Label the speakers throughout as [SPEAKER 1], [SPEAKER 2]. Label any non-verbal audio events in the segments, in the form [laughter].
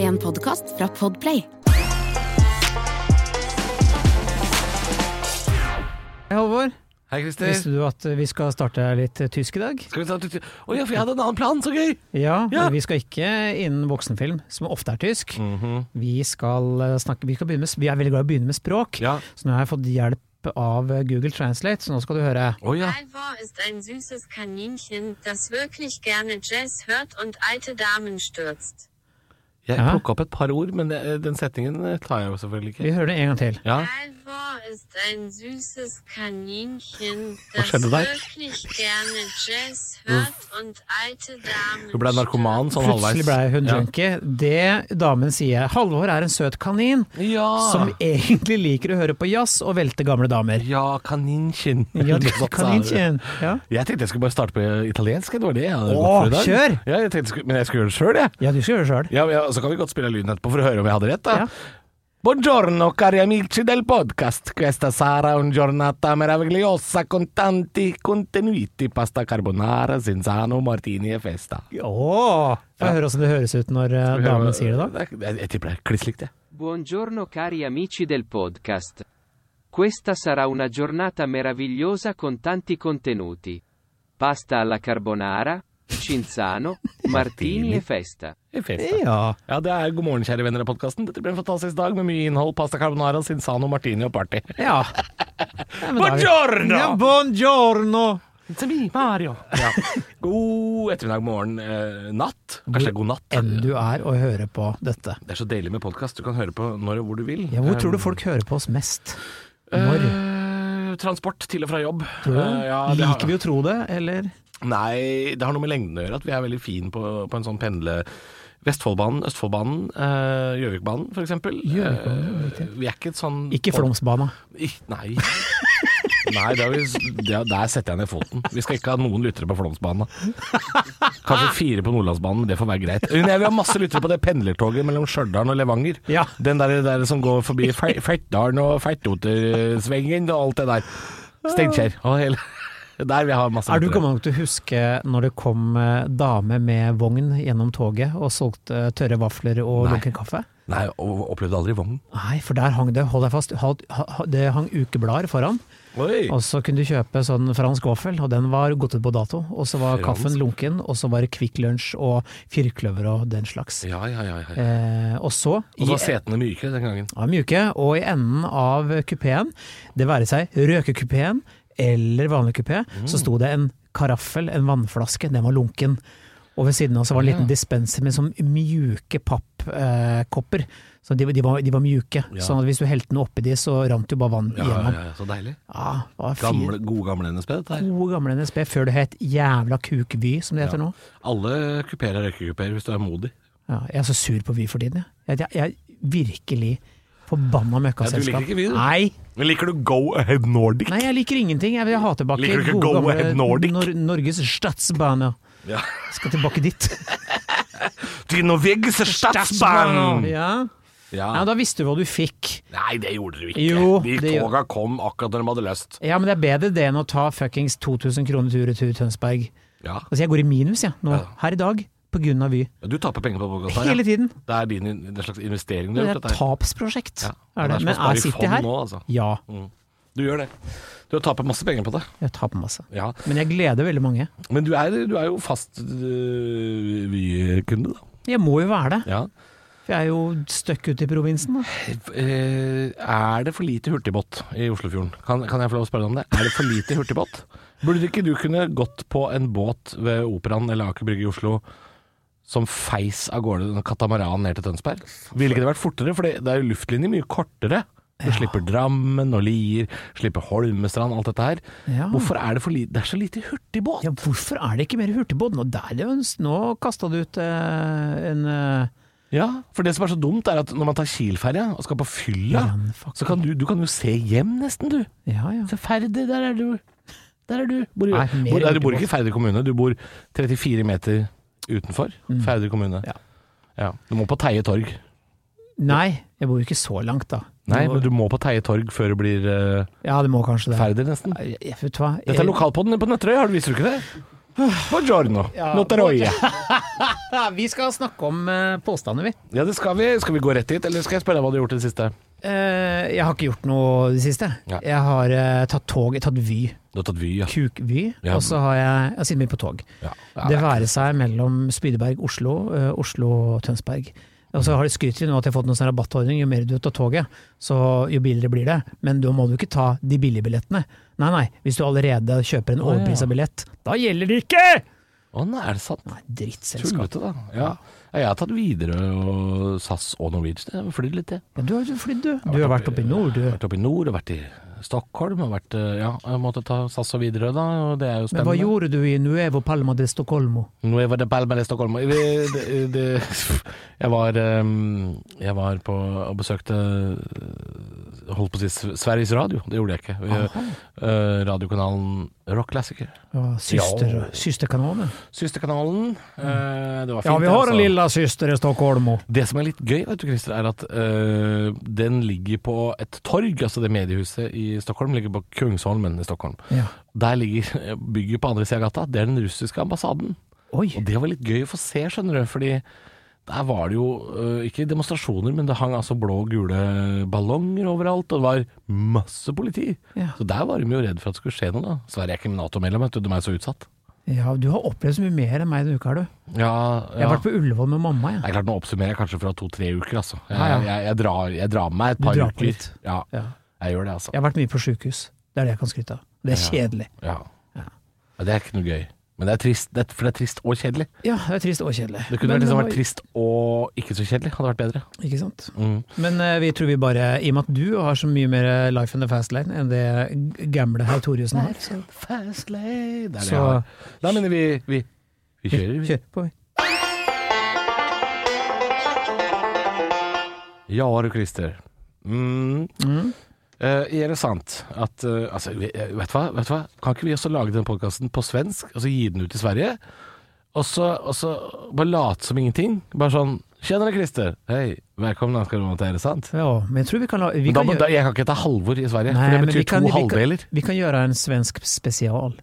[SPEAKER 1] en podkast fra Podplay.
[SPEAKER 2] Hei, Halvor.
[SPEAKER 3] Hei, Christer.
[SPEAKER 2] Visste du at vi skal starte litt tysk i dag?
[SPEAKER 3] Skal vi ta tutt- Å ja, for jeg hadde en annen plan, så gøy!
[SPEAKER 2] Ja,
[SPEAKER 3] Ja.
[SPEAKER 2] Vi skal ikke innen voksenfilm, som ofte er tysk.
[SPEAKER 3] Mhm.
[SPEAKER 2] Vi skal eh, snakke Vi, skal begynne med, s- vi er veldig glad i å begynne med språk,
[SPEAKER 3] Ja.
[SPEAKER 2] så nå har jeg fått hjelp av Google Translate, så nå skal du høre.
[SPEAKER 3] Å ja.
[SPEAKER 4] Alvor ist ein süßes Kaninchen, das wirklich gerne Jazz hört og alte Damen stürzt.
[SPEAKER 3] Jeg
[SPEAKER 2] Ja.
[SPEAKER 3] plukka opp et par ord, men det, eh, den setningen tar jeg jo selvfølgelig ikke.
[SPEAKER 2] Vi hører det en gang til.
[SPEAKER 3] Ja.
[SPEAKER 4] Alvor ist ein süßes Kaninchen,
[SPEAKER 3] Was
[SPEAKER 4] das
[SPEAKER 3] schreibt er da?
[SPEAKER 4] wirklich gerne Jazz hört und alte Damen
[SPEAKER 3] Hun ble narkoman sånn halvveis.
[SPEAKER 2] Plutselig ble hun junkie. Det damen sier Halvor er en søt kanin
[SPEAKER 3] Ja.
[SPEAKER 2] som
[SPEAKER 3] Ja.
[SPEAKER 2] egentlig liker å høre på jazz og velte gamle
[SPEAKER 3] [laughs]
[SPEAKER 2] damer.
[SPEAKER 3] ja, kaninkinn.
[SPEAKER 2] Ja,
[SPEAKER 3] Litt sånn, sa [laughs] du.
[SPEAKER 2] kaninchen. Ja.
[SPEAKER 3] Jeg tenkte jeg skulle bare starte på italiensk. Det var det jeg
[SPEAKER 2] Å,
[SPEAKER 3] hadde gått for i dag.
[SPEAKER 2] kjør!
[SPEAKER 3] Ja, jeg tenkte, jeg skulle- men jeg skulle gjøre det sjøl, jeg.
[SPEAKER 2] ja, du skal gjøre det sjøl.
[SPEAKER 3] Ja, men ja, så kan vi godt spille lyden etterpå for å høre om jeg hadde rett. da
[SPEAKER 2] Ja.
[SPEAKER 3] Buongiorno cari amici del podcast, questa sarà un giornata meravigliosa con tanti contenuti, pasta carbonara, zinzano, martini e festa.
[SPEAKER 2] Åh, Får jeg høre åssen det høres ut når eh, damen sier det, da?
[SPEAKER 3] Jeg, jeg, jeg eh, tipper det er kliss likt, jeg.
[SPEAKER 5] Buongiorno cari amici del podcast. Questa sarà una giornata meravigliosa con tanti contenuti. Pasta alla carbonara, cinzano, martini e festa.
[SPEAKER 3] I festa.
[SPEAKER 2] Ja.
[SPEAKER 3] Ja, det er God morgen, kjære venner av podkasten. Dette blir en fantastisk dag med mye innhold, pasta carbonara, zinzano, martini og party.
[SPEAKER 2] ja. Nei, men da er vi-
[SPEAKER 3] Buongiorno!
[SPEAKER 2] Ja, buongiorno!
[SPEAKER 3] It's me, Mario. Ja. God ettermiddag, morgen, eh, natt. Kanskje det er god natt.
[SPEAKER 2] Enn du er å høre på dette.
[SPEAKER 3] Det er så deilig med podkast. Du kan høre på når og hvor du vil.
[SPEAKER 2] Ja, hvor tror du
[SPEAKER 3] Eh,
[SPEAKER 2] folk hører på oss mest? Når?
[SPEAKER 3] eh, Transport til og fra jobb.
[SPEAKER 2] Tror du?
[SPEAKER 3] Eh, ja, det har-
[SPEAKER 2] Liker vi å tro det, eller?
[SPEAKER 3] Nei, det har noe med lengden å gjøre. At vi er veldig fine på, på en sånn pendle... Vestfoldbanen, Østfoldbanen, eh, Gjøvikbanen for eksempel. Eh, vi er ikke et sånn
[SPEAKER 2] Ikke Flåmsbana.
[SPEAKER 3] Ik- Nei. Nei, da vil, ja, der setter jeg ned foten. Vi skal ikke ha noen lyttere på Flåmsbanen. Kanskje fire på Nordlandsbanen, men det får være greit. Men Jeg vil ha masse lyttere på det pendlertoget mellom Stjørdal og Levanger.
[SPEAKER 2] Ja.
[SPEAKER 3] Den der, der som går forbi Fe- Fettdalen og Fertotersvingen og alt det der. Steinkjer og hele Der vil jeg ha masse
[SPEAKER 2] Er du
[SPEAKER 3] lyttere.
[SPEAKER 2] gammel nok til å huske når det kom eh, dame med vogn gjennom toget og solgte eh, tørre vafler og
[SPEAKER 3] Nei.
[SPEAKER 2] lunken kaffe?
[SPEAKER 3] Nei, og opplevde aldri vogn.
[SPEAKER 2] Nei, for der hang det, hold deg fast, ha- ha- det hang ukeblader foran.
[SPEAKER 3] Oi.
[SPEAKER 2] Og så kunne du kjøpe sånn fransk vaffel, og den var gått ut på dato. Og så var
[SPEAKER 3] Fransk.
[SPEAKER 2] kaffen lunken, og så var det Kvikk Lunsj og firkløver og den slags.
[SPEAKER 3] Ja, ja, ja. ja.
[SPEAKER 2] Eh, og så,
[SPEAKER 3] Og så var
[SPEAKER 2] i-
[SPEAKER 3] setene myke den gangen.
[SPEAKER 2] ja, mjuke, og i enden av kupeen, det være seg røkekupeen eller vanlig kupé,
[SPEAKER 3] Mm.
[SPEAKER 2] så sto det en karaffel, en vannflaske, den var lunken. Og ved siden av så var det en liten dispenser med sånn mjuke pappkopper. så de, de, var, de var mjuke,
[SPEAKER 3] Ja.
[SPEAKER 2] sånn at hvis du helte noe oppi de, så rant jo bare vann
[SPEAKER 3] Ja, ja,
[SPEAKER 2] igjennom.
[SPEAKER 3] ja, Så deilig.
[SPEAKER 2] Ja, det var fint.
[SPEAKER 3] Gamle, gode gamle NSB, dette her.
[SPEAKER 2] gode gamle NSB, før det het jævla kuk Vy, som det heter nå.
[SPEAKER 3] Alle kupeer er røykekupeer hvis du er modig.
[SPEAKER 2] Ja, jeg er så sur på Vy for tiden, jeg. Jeg, jeg, jeg virkelig Forbanna møkkaselskap.
[SPEAKER 3] Ja, du liker ikke Vy, du?
[SPEAKER 2] Nei,
[SPEAKER 3] Men liker du Go Ahead Nordic?
[SPEAKER 2] nei, jeg liker ingenting. Jeg vil ha tilbake
[SPEAKER 3] Liker du ikke Go Ahead Nordic?
[SPEAKER 2] Norges Statsbane.
[SPEAKER 3] Ja.
[SPEAKER 2] Skal tilbake dit.
[SPEAKER 3] De norvegiske
[SPEAKER 2] [laughs]
[SPEAKER 3] statsbanen!
[SPEAKER 2] Ja.
[SPEAKER 3] Ja.
[SPEAKER 2] ja, da visste du hva du fikk.
[SPEAKER 3] Nei, det gjorde dere ikke.
[SPEAKER 2] Jo,
[SPEAKER 3] de
[SPEAKER 2] det gjorde-
[SPEAKER 3] toga kom akkurat når de hadde lyst.
[SPEAKER 2] Ja, men det er bedre det enn å ta fuckings 2000 kroner tur-retur Tønsberg.
[SPEAKER 3] Ja.
[SPEAKER 2] Altså, jeg går i minus, jeg, nå.
[SPEAKER 3] Ja.
[SPEAKER 2] Her i dag. På grunn av Vy.
[SPEAKER 3] Du taper penger på podkast her.
[SPEAKER 2] Hele
[SPEAKER 3] Ja.
[SPEAKER 2] tiden.
[SPEAKER 3] Det er din, det er en slags investering du
[SPEAKER 2] Det
[SPEAKER 3] har
[SPEAKER 2] er
[SPEAKER 3] gjort.
[SPEAKER 2] et
[SPEAKER 3] Dette. her.
[SPEAKER 2] tapsprosjekt.
[SPEAKER 3] Ja.
[SPEAKER 2] Er det.
[SPEAKER 3] som å
[SPEAKER 2] Men
[SPEAKER 3] spare
[SPEAKER 2] er
[SPEAKER 3] i
[SPEAKER 2] City
[SPEAKER 3] fond
[SPEAKER 2] her?
[SPEAKER 3] Nå, altså.
[SPEAKER 2] Ja,
[SPEAKER 3] Du gjør det. Du taper masse penger på det.
[SPEAKER 2] jeg taper masse.
[SPEAKER 3] Ja.
[SPEAKER 2] Men jeg gleder veldig mange.
[SPEAKER 3] Men du er, du er jo fast øh, Vy-kunde, da.
[SPEAKER 2] Jeg må jo være det,
[SPEAKER 3] Ja.
[SPEAKER 2] for jeg er jo støkk ute i provinsen. Da.
[SPEAKER 3] Eh, Er det for lite hurtigbåt i Oslofjorden? Kan, kan jeg få lov å spørre deg om det? Er det for lite hurtigbåt? Burde ikke du kunne gått på en båt ved Operaen eller Aker Brygge i Oslo som feis av gårde en katamaran ned til Tønsberg? Ville ikke det vært fortere? For det, det er jo luftlinjer mye kortere. Du slipper Drammen og Lier, slipper Holmestrand, alt dette her.
[SPEAKER 2] Ja.
[SPEAKER 3] Hvorfor er det for lite Det er så lite hurtigbåt!
[SPEAKER 2] Ja, hvorfor er det ikke mer hurtigbåt? Nå, der, er det jo en- nå kasta du ut eh, en eh,
[SPEAKER 3] Ja, for det som er så dumt, er at når man tar Kiel-ferja og skal på fylla,
[SPEAKER 2] Brannfakkel.
[SPEAKER 3] så kan du, du kan jo se hjem, nesten, du.
[SPEAKER 2] Ja, ja.
[SPEAKER 3] Så Færder, der er du. Der er du. Bor, i-
[SPEAKER 2] Nei, mer
[SPEAKER 3] bor, nei, du bor
[SPEAKER 2] Uteborg.
[SPEAKER 3] ikke i Færder kommune, du bor 34 meter utenfor Færder kommune.
[SPEAKER 2] Mm. Ja.
[SPEAKER 3] Ja. Du må på Teie torg.
[SPEAKER 2] Nei, jeg bor jo ikke så langt, da.
[SPEAKER 3] Nei,
[SPEAKER 2] Nå-
[SPEAKER 3] men du må på Teie torg før du blir eh,
[SPEAKER 2] Ja, det må kanskje det.
[SPEAKER 3] Færder, nesten.
[SPEAKER 2] Jeg, jeg, vet du hva?
[SPEAKER 3] Dette er
[SPEAKER 2] Jeg-
[SPEAKER 3] lokalpodden på Nøtterøy, har du, visste du ikke det? Buongiorno,
[SPEAKER 2] Ja,
[SPEAKER 3] notaroie.
[SPEAKER 2] Vi skal snakke om eh, påstander, vi.
[SPEAKER 3] [laughs] Ja, det skal vi. Skal vi gå rett dit, eller skal jeg spørre deg hva du har gjort i det siste?
[SPEAKER 2] Eh, jeg har ikke gjort noe i det siste.
[SPEAKER 3] Ja.
[SPEAKER 2] Jeg har eh, tatt tog, tatt Vy.
[SPEAKER 3] Du har tatt Vy, ja.
[SPEAKER 2] Kuk-Vy.
[SPEAKER 3] Ja.
[SPEAKER 2] Og så har jeg, jeg har sittet mye på tog.
[SPEAKER 3] ja.
[SPEAKER 2] det være seg mellom Spydeberg, Oslo, eh, Oslo og Tønsberg. Og så har de skrytt til nå at de har fått noen sånn rabattordning. Jo mer du tar toget, så jo billigere blir det. Men da må du ikke ta de billige billettene. Nei, nei. Hvis du allerede kjøper en
[SPEAKER 3] Å, ja.
[SPEAKER 2] overprisa billett, da gjelder det ikke!
[SPEAKER 3] Å nei, er det sant?
[SPEAKER 2] Nei, drittselskap.
[SPEAKER 3] Tullete, da. Ja. ja. Jeg har tatt Widerøe og SAS og Norwegian. Jeg har flydd litt, jeg.
[SPEAKER 2] Ja, du har jo flydd, du. Du har vært oppe i nord, du.
[SPEAKER 3] Vært oppe i nord og vært i Stockholm. Og vært, eh, ja, jeg måtte ta SAS og Widerøe, da. Og det er jo
[SPEAKER 2] Men hva
[SPEAKER 3] spennende.
[SPEAKER 2] gjorde du i Nuevo Palma de Stoccolmo?
[SPEAKER 3] Nå var det Palma de Stockholm. Vi- det- det- Jeg var, ehm, jeg var på og besøkte eh, Holdt på å si Sv- Sveriges Radio. Det gjorde jeg ikke. Vi- eh, Radiokanalen Rock Classicer.
[SPEAKER 2] Ja, Syster,
[SPEAKER 3] Ja.
[SPEAKER 2] Systerkanalen?
[SPEAKER 3] Systerkanalen. eh, Det var fint.
[SPEAKER 2] Ja, vi
[SPEAKER 3] det,
[SPEAKER 2] har en
[SPEAKER 3] altså.
[SPEAKER 2] lilla syster i Stoccolmo.
[SPEAKER 3] Det som er litt gøy, vet du, Christer, er at eh, den ligger på et torg. Altså det mediehuset i Stockholm ligger på Kungsholmen i Stockholm.
[SPEAKER 2] Ja.
[SPEAKER 3] Der ligger [laughs] bygget på andre sida av gata. Det er den russiske ambassaden.
[SPEAKER 2] Oi.
[SPEAKER 3] Og det var litt gøy å få se, skjønner du. Fordi der var det jo eh, ikke demonstrasjoner, men det hang altså blå og gule ballonger overalt. Og det var masse politi.
[SPEAKER 2] Ja.
[SPEAKER 3] Så der var de jo redd for at det skulle skje noe, da. Sverige er ikke Nato-medlem, vet du. De er så utsatt.
[SPEAKER 2] Ja, du har opplevd så mye mer enn meg denne uka, har du.
[SPEAKER 3] Ja,
[SPEAKER 2] Jeg har vært på Ullevål med mamma, jeg.
[SPEAKER 3] Det er klart, Nå oppsummerer jeg kanskje fra to-tre uker. altså. Jeg,
[SPEAKER 2] Ja, ja.
[SPEAKER 3] jeg, jeg, drar, jeg drar med meg et
[SPEAKER 2] Du
[SPEAKER 3] par
[SPEAKER 2] drar på
[SPEAKER 3] uker.
[SPEAKER 2] litt.
[SPEAKER 3] Ja,
[SPEAKER 2] Ja.
[SPEAKER 3] jeg gjør det, altså.
[SPEAKER 2] Jeg har vært mye på sjukehus. Det er det jeg kan skryte av. Det er kjedelig.
[SPEAKER 3] Ja. Ja, Det er ikke noe gøy. Men det er trist, det er, for det er trist og kjedelig.
[SPEAKER 2] Ja, det er trist og kjedelig.
[SPEAKER 3] Det kunne
[SPEAKER 2] Men
[SPEAKER 3] vært, liksom,
[SPEAKER 2] var-
[SPEAKER 3] vært trist og ikke så kjedelig. Hadde vært bedre.
[SPEAKER 2] Ikke sant.
[SPEAKER 3] Mm.
[SPEAKER 2] Men eh, vi tror vi bare, i og med at du har så mye mer eh, life in the fast lane enn det g- gamle herr Thoriussen har, så
[SPEAKER 3] Fast lane. Det er det
[SPEAKER 2] Så-
[SPEAKER 3] jeg har. Da mener vi vi, vi kjører. vi.
[SPEAKER 2] kjør på.
[SPEAKER 3] Ja du, Christer. Mm.
[SPEAKER 2] Mm.
[SPEAKER 3] Eh, er det sant at eh, altså, vi- eh, vet, du hva, vet du hva? Kan ikke vi også lage den podkasten på svensk, og så gi den ut i Sverige? Og så, og så bare late som ingenting? Bare sånn Tjena, Christer. Hei, velkommen skal du være til Er det sant?
[SPEAKER 2] Ja, men jeg tror vi kan la vi
[SPEAKER 3] Men da,
[SPEAKER 2] kan
[SPEAKER 3] må-
[SPEAKER 2] gjøre-
[SPEAKER 3] da, jeg kan ikke ta Halvor i
[SPEAKER 2] Nei,
[SPEAKER 3] Sverige, for
[SPEAKER 2] men
[SPEAKER 3] det
[SPEAKER 2] vi
[SPEAKER 3] betyr
[SPEAKER 2] kan-
[SPEAKER 3] to
[SPEAKER 2] vi kan-
[SPEAKER 3] halvdeler.
[SPEAKER 2] Vi kan gjøre en svensk spesial.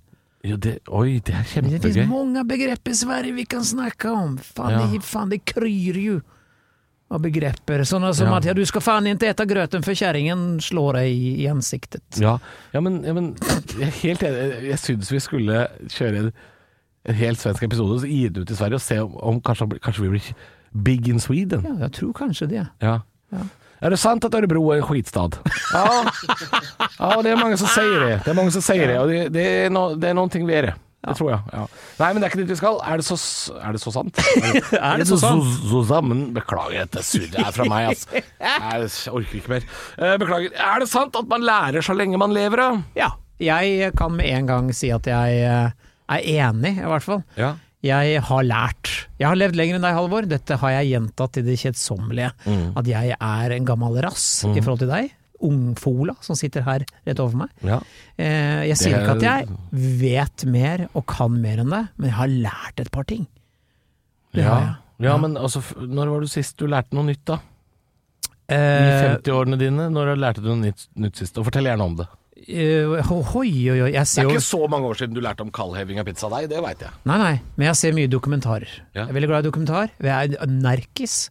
[SPEAKER 3] Jo, det, oi, det er
[SPEAKER 2] Men Det finnes
[SPEAKER 3] kjempegøy.
[SPEAKER 2] mange begrep i Sverige vi kan snakke om. Fan,
[SPEAKER 3] Ja.
[SPEAKER 2] det, fan, det kryr jo av begreper. Sånne som
[SPEAKER 3] Ja.
[SPEAKER 2] at ja, du skal fan ikke äta grøten for kjerringen slår deg i, i ansiktet.
[SPEAKER 3] Ja, ja, men, ja, men jeg er helt enig. Jeg syns vi skulle kjøre en, en helt svensk episode, så gi den ut i Sverige, og se om, om kanskje, han blir- kanskje vi blir big in Sweden.
[SPEAKER 2] Ja, jeg tror kanskje det.
[SPEAKER 3] Ja. Er det sant at Ørebro er en skitstad? Ja. ja, det er mange som sier det. Det er mange som sier det, og det, det, er, no, det er noen ting ved det. Det tror jeg. Ja. Nei, men det er ikke dit vi skal. Er det så, s- er det så sant? [laughs] Er det,
[SPEAKER 2] det så sant?
[SPEAKER 3] så sammen? Beklager, dette surret er fra meg, [laughs] ass. Jeg orker ikke mer. Eh, Beklager. Er det sant at man lærer så lenge man lever, da?
[SPEAKER 2] Ja. Jeg kan med en gang si at jeg eh, er enig, i hvert fall.
[SPEAKER 3] Ja.
[SPEAKER 2] Jeg har lært. Jeg har levd lenger enn deg, Halvor. Dette har jeg gjentatt til det kjedsommelige.
[SPEAKER 3] Mm.
[SPEAKER 2] At jeg er en gammel rass i forhold til deg. Ungfola som sitter her rett over meg.
[SPEAKER 3] Ja.
[SPEAKER 2] Eh, Jeg sier
[SPEAKER 3] Det-
[SPEAKER 2] ikke at jeg vet mer og kan mer enn deg, men jeg har lært et par ting. Det
[SPEAKER 3] Ja,
[SPEAKER 2] har jeg.
[SPEAKER 3] men altså, f- når var det sist du lærte noe nytt, da? I
[SPEAKER 2] Eh,
[SPEAKER 3] 50-årene dine? Når lærte du noe nytt, nytt sist? Og fortell gjerne om det.
[SPEAKER 2] eh, ho- hoi, hoi, hoi. Jeg
[SPEAKER 3] Det
[SPEAKER 2] ser
[SPEAKER 3] er
[SPEAKER 2] jo
[SPEAKER 3] ikke så mange år siden du lærte om kaldheving av pizzadeig, det veit jeg.
[SPEAKER 2] Nei, nei, men jeg ser mye dokumentarer.
[SPEAKER 3] Ja.
[SPEAKER 2] Jeg er veldig glad i dokumentar. Jeg er nerkis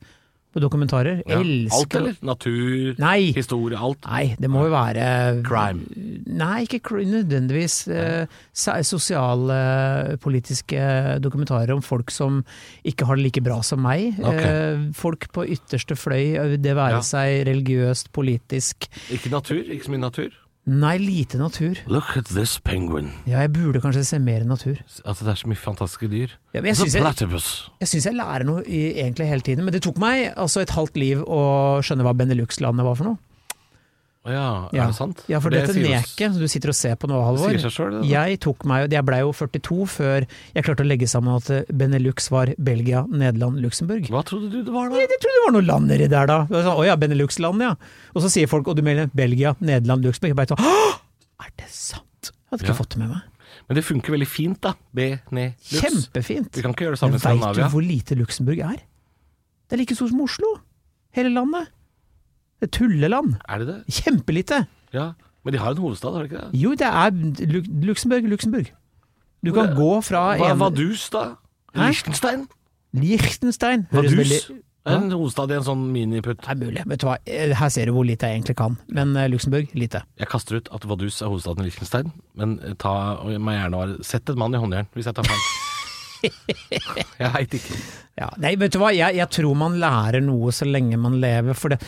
[SPEAKER 2] på dokumentarer. Elsker
[SPEAKER 3] Alt, eller? Natur,
[SPEAKER 2] Nei.
[SPEAKER 3] historie, alt.
[SPEAKER 2] Nei, det må jo være eh,
[SPEAKER 3] Crime.
[SPEAKER 2] Nei, ikke cr- nødvendigvis. eh, sa- Sosiale, politiske eh, dokumentarer om folk som ikke har det like bra som meg.
[SPEAKER 3] Ok.
[SPEAKER 2] Eh, Folk på ytterste fløy, eh, det være
[SPEAKER 3] Ja.
[SPEAKER 2] seg religiøst, politisk.
[SPEAKER 3] Ikke natur, ikke så mye natur.
[SPEAKER 2] Nei, lite natur.
[SPEAKER 3] Look at this penguin.
[SPEAKER 2] Ja, jeg burde kanskje se mer natur.
[SPEAKER 3] Altså, det er så mye fantastiske dyr.
[SPEAKER 2] Ja, men jeg
[SPEAKER 3] Altså,
[SPEAKER 2] synes jeg-
[SPEAKER 3] platypus.
[SPEAKER 2] Jeg syns jeg lærer noe i, egentlig hele tiden, men det tok meg altså et halvt liv å skjønne hva Benelux-landet var for noe.
[SPEAKER 3] Å ja,
[SPEAKER 2] Ja.
[SPEAKER 3] er det sant?
[SPEAKER 2] Ja, for
[SPEAKER 3] Det
[SPEAKER 2] dette
[SPEAKER 3] sier jo-
[SPEAKER 2] neket som du sitter og ser på nå, Halvor
[SPEAKER 3] Det sier seg selv, det, da.
[SPEAKER 2] Jeg tok meg jo Jeg blei jo 42 før jeg klarte å legge sammen at eh, Benelux var Belgia, Nederland, Luxembourg.
[SPEAKER 3] Hva trodde du det var, da?
[SPEAKER 2] Jeg trodde det var noen land nedi der, da. Det var Sånn, å ja, Benelux-land, ja. Og så sier folk og du mener Belgia, Nederland, Luxembourg. Jeg bare sånn Hå! Er det sant? Jeg hadde ikke
[SPEAKER 3] Ja.
[SPEAKER 2] fått det med meg.
[SPEAKER 3] Men det funker veldig fint, da. Benelux.
[SPEAKER 2] Kjempefint.
[SPEAKER 3] Vi kan ikke gjøre det
[SPEAKER 2] Men
[SPEAKER 3] samme i
[SPEAKER 2] veit du
[SPEAKER 3] Skandinavia.
[SPEAKER 2] hvor lite Luxembourg er? Det er like stort som Oslo. Hele landet. Det er tulleland.
[SPEAKER 3] Er det det?
[SPEAKER 2] Kjempelite.
[SPEAKER 3] Ja. Men de har en hovedstad, har de ikke det?
[SPEAKER 2] Jo, det er Lu- Luxembourg, Luxembourg. Du kan gå fra
[SPEAKER 3] Hva,
[SPEAKER 2] en
[SPEAKER 3] vadus, da?
[SPEAKER 2] Hæ?
[SPEAKER 3] Liechtenstein?
[SPEAKER 2] Liechtenstein høres veldig-
[SPEAKER 3] Vadus? En hovedstad i en sånn miniputt.
[SPEAKER 2] Det er mulig. Vet du hva, Eh, her ser du hvor lite jeg egentlig kan. Men eh, Luxembourg, lite.
[SPEAKER 3] Jeg kaster ut at Vadus er hovedstaden i Liechtenstein, men eh, ta og meg gjerne og Sett en mann i håndjern hvis jeg
[SPEAKER 2] [laughs]
[SPEAKER 3] tar feil. jeg veit ikke.
[SPEAKER 2] Ja, nei, vet du hva, jeg, jeg tror man lærer noe så lenge man lever. For det.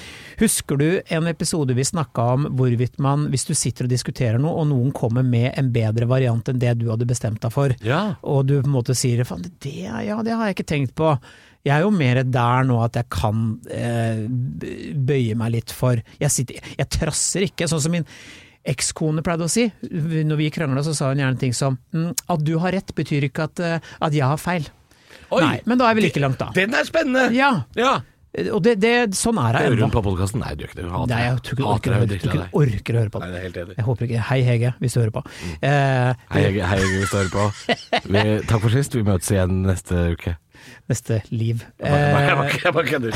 [SPEAKER 2] Husker du en episode vi snakka om hvorvidt man, hvis du sitter og diskuterer noe, og noen kommer med en bedre variant enn det du hadde bestemt deg for,
[SPEAKER 3] Ja.
[SPEAKER 2] og du på en måte sier faen, det, er- ja, det har jeg ikke tenkt på. Jeg er jo mer der nå at jeg kan eh, b- bøye meg litt for Jeg, sitter, jeg trasser ikke, sånn som min ekskone pleide å si. Når vi krangla, så sa hun gjerne ting som mm, at du har rett betyr ikke at, eh, at jeg har feil. Nei, men da er vi like langt, da.
[SPEAKER 3] Den er spennende!
[SPEAKER 2] Ja,
[SPEAKER 3] Ja.
[SPEAKER 2] og det, det, sånn er det
[SPEAKER 3] Hører
[SPEAKER 2] ennå.
[SPEAKER 3] hun på podkasten? Nei, du gjør ikke det. Hun hater
[SPEAKER 2] Nei, jeg
[SPEAKER 3] deg.
[SPEAKER 2] tror ikke du
[SPEAKER 3] Hater
[SPEAKER 2] orker, å
[SPEAKER 3] deg,
[SPEAKER 2] høre-
[SPEAKER 3] drikker
[SPEAKER 2] tror
[SPEAKER 3] av
[SPEAKER 2] ikke
[SPEAKER 3] deg.
[SPEAKER 2] du orker å høre på
[SPEAKER 3] Nei,
[SPEAKER 2] det.
[SPEAKER 3] det er helt enig.
[SPEAKER 2] Jeg håper ikke Hei Hege, hvis du hører på. Eh,
[SPEAKER 3] Hei, Hege, hei, Hege, hvis du
[SPEAKER 2] [laughs]
[SPEAKER 3] hører på. Vi, takk for sist. Vi møtes igjen neste uke.
[SPEAKER 2] neste liv.
[SPEAKER 3] Nei, jeg
[SPEAKER 2] Eh,
[SPEAKER 3] bare- [laughs] jeg bare kødder.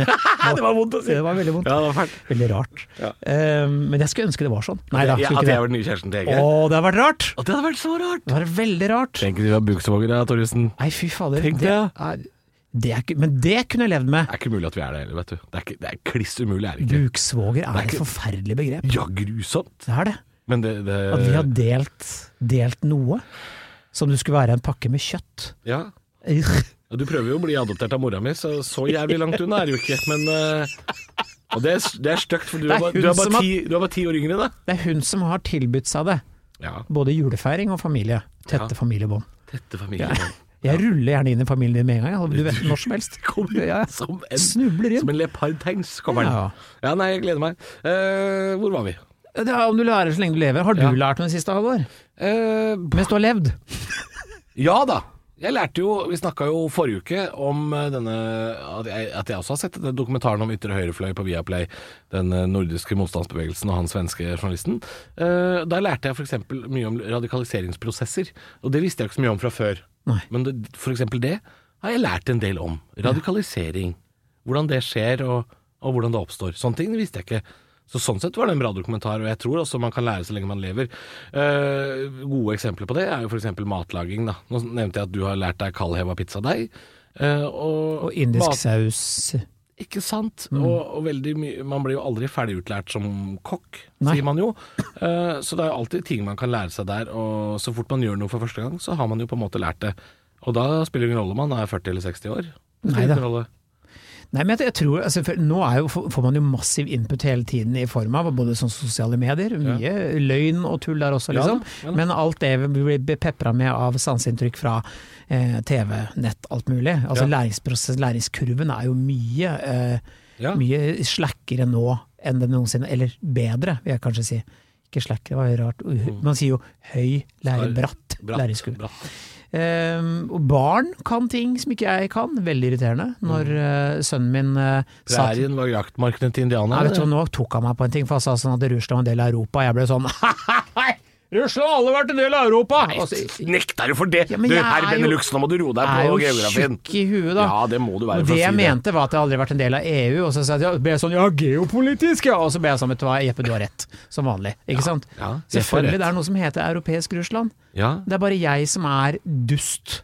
[SPEAKER 3] [laughs] Det var vondt å si.
[SPEAKER 2] det var veldig vondt.
[SPEAKER 3] Ja, det var fælt.
[SPEAKER 2] Veldig rart.
[SPEAKER 3] Ja.
[SPEAKER 2] Eh, men jeg skulle ønske det var sånn. Nei da,
[SPEAKER 3] Ja,
[SPEAKER 2] skulle
[SPEAKER 3] at jeg
[SPEAKER 2] ikke det.
[SPEAKER 3] var den nye kjæresten til
[SPEAKER 2] Å,
[SPEAKER 3] Hege.
[SPEAKER 2] det har vært rart!
[SPEAKER 3] Å, det hadde vært så rart!
[SPEAKER 2] Det har vært veldig rart.
[SPEAKER 3] Tenk du var buksvåger da, Torjussen.
[SPEAKER 2] Nei, fy fader.
[SPEAKER 3] Tenk
[SPEAKER 2] det
[SPEAKER 3] det,
[SPEAKER 2] er, det er, ikke- men det kunne jeg levd med.
[SPEAKER 3] Det er ikke mulig at vi er det heller, vet du. Det er, ikke, det er kliss umulig, er det ikke?
[SPEAKER 2] Buksvoger er et
[SPEAKER 3] ikke-
[SPEAKER 2] forferdelig begrep.
[SPEAKER 3] Ja, grusomt.
[SPEAKER 2] Det er det.
[SPEAKER 3] Men det, det
[SPEAKER 2] At vi har delt, delt noe som det skulle være en pakke med kjøtt.
[SPEAKER 3] Ja.
[SPEAKER 2] Ugh.
[SPEAKER 3] Og Du prøver jo å bli adoptert av mora mi, så så jævlig langt unna er det jo ikke. Men eh, Og det er, det er stygt, for du
[SPEAKER 2] Det
[SPEAKER 3] er,
[SPEAKER 2] er
[SPEAKER 3] bare-
[SPEAKER 2] hun
[SPEAKER 3] du, er bare
[SPEAKER 2] som har-
[SPEAKER 3] ti, du er bare ti år yngre, da.
[SPEAKER 2] Det er hun som har tilbudt seg det.
[SPEAKER 3] Ja.
[SPEAKER 2] Både julefeiring og familie. Tette
[SPEAKER 3] Ja.
[SPEAKER 2] familiebånd.
[SPEAKER 3] Tette familien.
[SPEAKER 2] Jeg ruller gjerne inn i familien din med en gang, jeg. du vet, når
[SPEAKER 3] [laughs]
[SPEAKER 2] som helst.
[SPEAKER 3] Kommer
[SPEAKER 2] Ja, jeg
[SPEAKER 3] som en,
[SPEAKER 2] Snubler
[SPEAKER 3] som
[SPEAKER 2] inn.
[SPEAKER 3] en leopardtanks, kommer den.
[SPEAKER 2] Ja.
[SPEAKER 3] Ja, nei, jeg gleder meg. Eh, hvor var vi?
[SPEAKER 2] Det er om du lærer så lenge du lever. Har du
[SPEAKER 3] Ja.
[SPEAKER 2] lært noe det siste, Halvor?
[SPEAKER 3] Eh,
[SPEAKER 2] Mens du har levd?
[SPEAKER 3] ja da. Jeg lærte jo, Vi snakka jo forrige uke om eh, denne at jeg, at jeg også har sett denne dokumentaren om ytre høyrefløy på Viaplay. Den eh, nordiske motstandsbevegelsen og han svenske journalisten. Eh, da lærte jeg f.eks. mye om radikaliseringsprosesser. Og det visste jeg ikke så mye om fra før.
[SPEAKER 2] Nei.
[SPEAKER 3] Men det, f.eks. det har jeg lært en del om. Radikalisering. Hvordan det skjer, og, og hvordan det oppstår. Sånne ting visste jeg ikke. Så Sånn sett var det en bra dokumentar, og jeg tror også man kan lære så lenge man lever. Eh, gode eksempler på det er jo f.eks. matlaging. Da. Nå nevnte jeg at du har lært deg kaldheva pizzadeig. eh, og,
[SPEAKER 2] Og indisk
[SPEAKER 3] mat-
[SPEAKER 2] saus
[SPEAKER 3] Ikke sant.
[SPEAKER 2] Mm.
[SPEAKER 3] Og, og veldig mye Man blir jo aldri ferdigutlært som kokk,
[SPEAKER 2] Nei.
[SPEAKER 3] sier man jo. Eh, så det er jo alltid ting man kan lære seg der, og så fort man gjør noe for første gang, så har man jo på en måte lært det. Og da spiller det ingen rolle om man er 40 eller 60 år. Det spiller
[SPEAKER 2] Neida.
[SPEAKER 3] ingen rolle.
[SPEAKER 2] Nei, men jeg, jeg tror, altså, for Nå er jo, får man jo massiv input hele tiden i form av både sånn sosiale medier, mye løgn og tull der også,
[SPEAKER 3] Ja da,
[SPEAKER 2] liksom.
[SPEAKER 3] ja da.
[SPEAKER 2] Men alt det vi blir pepra med av sanseinntrykk fra eh, TV, nett, alt mulig. Altså
[SPEAKER 3] Ja.
[SPEAKER 2] læringsprosess, Læringskurven er jo mye, eh,
[SPEAKER 3] Ja.
[SPEAKER 2] mye slakkere nå enn den noensinne Eller bedre, vil jeg kanskje si. Ikke slakkere, det var jo rart. Man sier jo høy lærer bratt,
[SPEAKER 3] Mm. Bratt,
[SPEAKER 2] læringskurve.
[SPEAKER 3] bratt.
[SPEAKER 2] Ehm, og barn kan ting som ikke jeg kan. Veldig irriterende. Når
[SPEAKER 3] Mm.
[SPEAKER 2] eh, sønnen min eh, sa til-
[SPEAKER 3] Prærien var jaktmarkene til
[SPEAKER 2] Nei,
[SPEAKER 3] indianerne.
[SPEAKER 2] vet du, hva, Nå tok han meg på en ting, for han sa sånn at Russland var en del av Europa. Jeg ble sånn [laughs] Hei! Russland har alle vært en del av Europa! Og så-
[SPEAKER 3] Nekter du for det?
[SPEAKER 2] Ja, men
[SPEAKER 3] du,
[SPEAKER 2] jeg
[SPEAKER 3] herr
[SPEAKER 2] er jo-
[SPEAKER 3] Benelux, nå må du roe deg
[SPEAKER 2] er
[SPEAKER 3] på
[SPEAKER 2] jo
[SPEAKER 3] geografien.
[SPEAKER 2] tjukk i huet, da.
[SPEAKER 3] Ja, det må du være
[SPEAKER 2] Og
[SPEAKER 3] for
[SPEAKER 2] det
[SPEAKER 3] å
[SPEAKER 2] jeg
[SPEAKER 3] si
[SPEAKER 2] mente var at jeg aldri har vært en del av EU, og så sa jeg, ble jeg sånn ja, geopolitisk, ja, og så ble jeg sånn, vet du hva, Jeppe, du har rett, som vanlig, ikke sant?
[SPEAKER 3] ja, Jeppe har
[SPEAKER 2] Selvfølgelig,
[SPEAKER 3] rett.
[SPEAKER 2] det er noe som heter europeisk Russland.
[SPEAKER 3] det. Ja.
[SPEAKER 2] Det er bare jeg som er dust.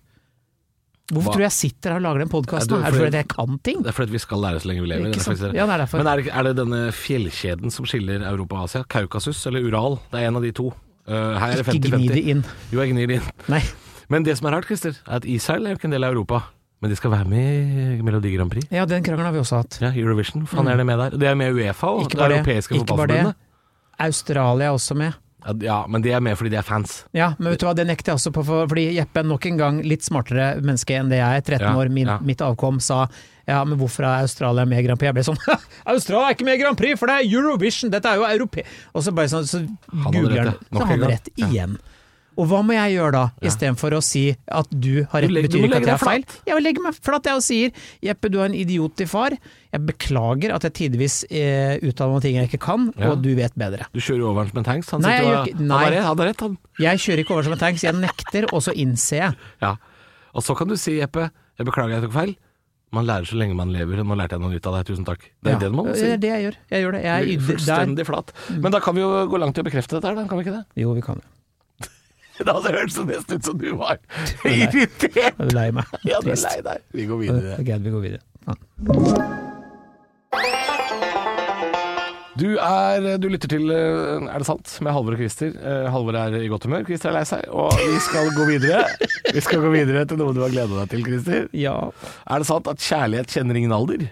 [SPEAKER 2] Hvorfor
[SPEAKER 3] Hva?
[SPEAKER 2] tror du jeg sitter her og lager den podkasten?
[SPEAKER 3] Er du-
[SPEAKER 2] Er det fordi jeg kan ting?
[SPEAKER 3] Det er fordi at vi skal lære så lenge vi lever.
[SPEAKER 2] Ikke
[SPEAKER 3] det er
[SPEAKER 2] sant?
[SPEAKER 3] faktisk det.
[SPEAKER 2] Ja, det er derfor.
[SPEAKER 3] Men er det, er det denne fjellkjeden som skiller Europa og Asia? Kaukasus eller Ural? Det er en av de to. Eh, her er det
[SPEAKER 2] Ikke gni det
[SPEAKER 3] 50-50.
[SPEAKER 2] inn.
[SPEAKER 3] Jo, jeg gnir det inn.
[SPEAKER 2] Nei.
[SPEAKER 3] Men det som er rart, Christer, er at Israel er jo ikke en del av Europa. Men de skal være med i Melodi Grand Prix.
[SPEAKER 2] Ja, den krangelen har vi også hatt.
[SPEAKER 3] Ja, Eurovision. Faen, er det med der? Det er med i Uefa og
[SPEAKER 2] Mm. Ikke
[SPEAKER 3] det
[SPEAKER 2] bare det.
[SPEAKER 3] europeiske
[SPEAKER 2] Ikke bare det.
[SPEAKER 3] fotballforbundet.
[SPEAKER 2] Australia er også med.
[SPEAKER 3] Ja, d- Ja, men de er med fordi de er fans.
[SPEAKER 2] Ja, men vet du hva, det nekter jeg også på, for, fordi Jeppe, nok en gang litt smartere menneske enn det jeg er, 13
[SPEAKER 3] Ja,
[SPEAKER 2] år, min,
[SPEAKER 3] ja.
[SPEAKER 2] mitt avkom, sa ja, men hvorfor er Australia med i Grand Prix? Jeg ble sånn [laughs] Australia er ikke med i Grand Prix, for det er Eurovision, dette er jo europe... Og så bare sånn, så
[SPEAKER 3] hadde
[SPEAKER 2] googler han,
[SPEAKER 3] rett, ja.
[SPEAKER 2] så
[SPEAKER 3] Nok en
[SPEAKER 2] han hadde
[SPEAKER 3] gang.
[SPEAKER 2] rett igjen. Og hva må jeg gjøre da, istedenfor å si at du har
[SPEAKER 3] Du
[SPEAKER 2] rett,
[SPEAKER 3] legger- du
[SPEAKER 2] betyr
[SPEAKER 3] må
[SPEAKER 2] ikke
[SPEAKER 3] legge
[SPEAKER 2] at jeg
[SPEAKER 3] deg
[SPEAKER 2] har feil?
[SPEAKER 3] flat.
[SPEAKER 2] Jeg legger meg flatt, jeg, og sier Jeppe, du er en idiot til far. Jeg beklager at jeg tidvis eh, uttaler meg ting jeg ikke kan,
[SPEAKER 3] Ja.
[SPEAKER 2] og du vet bedre.
[SPEAKER 3] Du kjører jo over den som en tanks. Han
[SPEAKER 2] Nei,
[SPEAKER 3] sitter
[SPEAKER 2] jeg
[SPEAKER 3] og-
[SPEAKER 2] gjør ikke-
[SPEAKER 3] han
[SPEAKER 2] nei.
[SPEAKER 3] har rett, han har rett, han.
[SPEAKER 2] Jeg kjører ikke over som en tanks, jeg nekter, og så innser jeg.
[SPEAKER 3] Ja. Og så kan du si, Jeppe, jeg beklager jeg tok feil. Man lærer så lenge man lever. Nå lærte jeg noe nytt av deg, tusen takk. Det er
[SPEAKER 2] Ja.
[SPEAKER 3] det man må si.
[SPEAKER 2] Det er det jeg gjør. Jeg gjør det. Jeg er ydmyk der.
[SPEAKER 3] Mm. Fullstendig flat. Men da kan vi jo gå langt i å bekrefte dette her, da, kan vi ikke det?
[SPEAKER 2] Jo, vi kan det.
[SPEAKER 3] [laughs] Det hadde hørtes nesten ut som du [laughs] var irritert.
[SPEAKER 2] Jeg er lei meg.
[SPEAKER 3] [laughs] Ja, du er
[SPEAKER 2] Trist.
[SPEAKER 3] lei deg. Vi går videre.
[SPEAKER 2] Ok, vi går videre. Ja.
[SPEAKER 3] Du, er, du lytter til eh, Er det sant? med Halvor og Christer. Eh, Halvor er i godt humør, Christer er lei seg. Og vi skal gå [laughs] videre Vi skal gå videre til noe du har gleda deg til, Christer.
[SPEAKER 2] Ja.
[SPEAKER 3] Er det sant at kjærlighet kjenner ingen alder?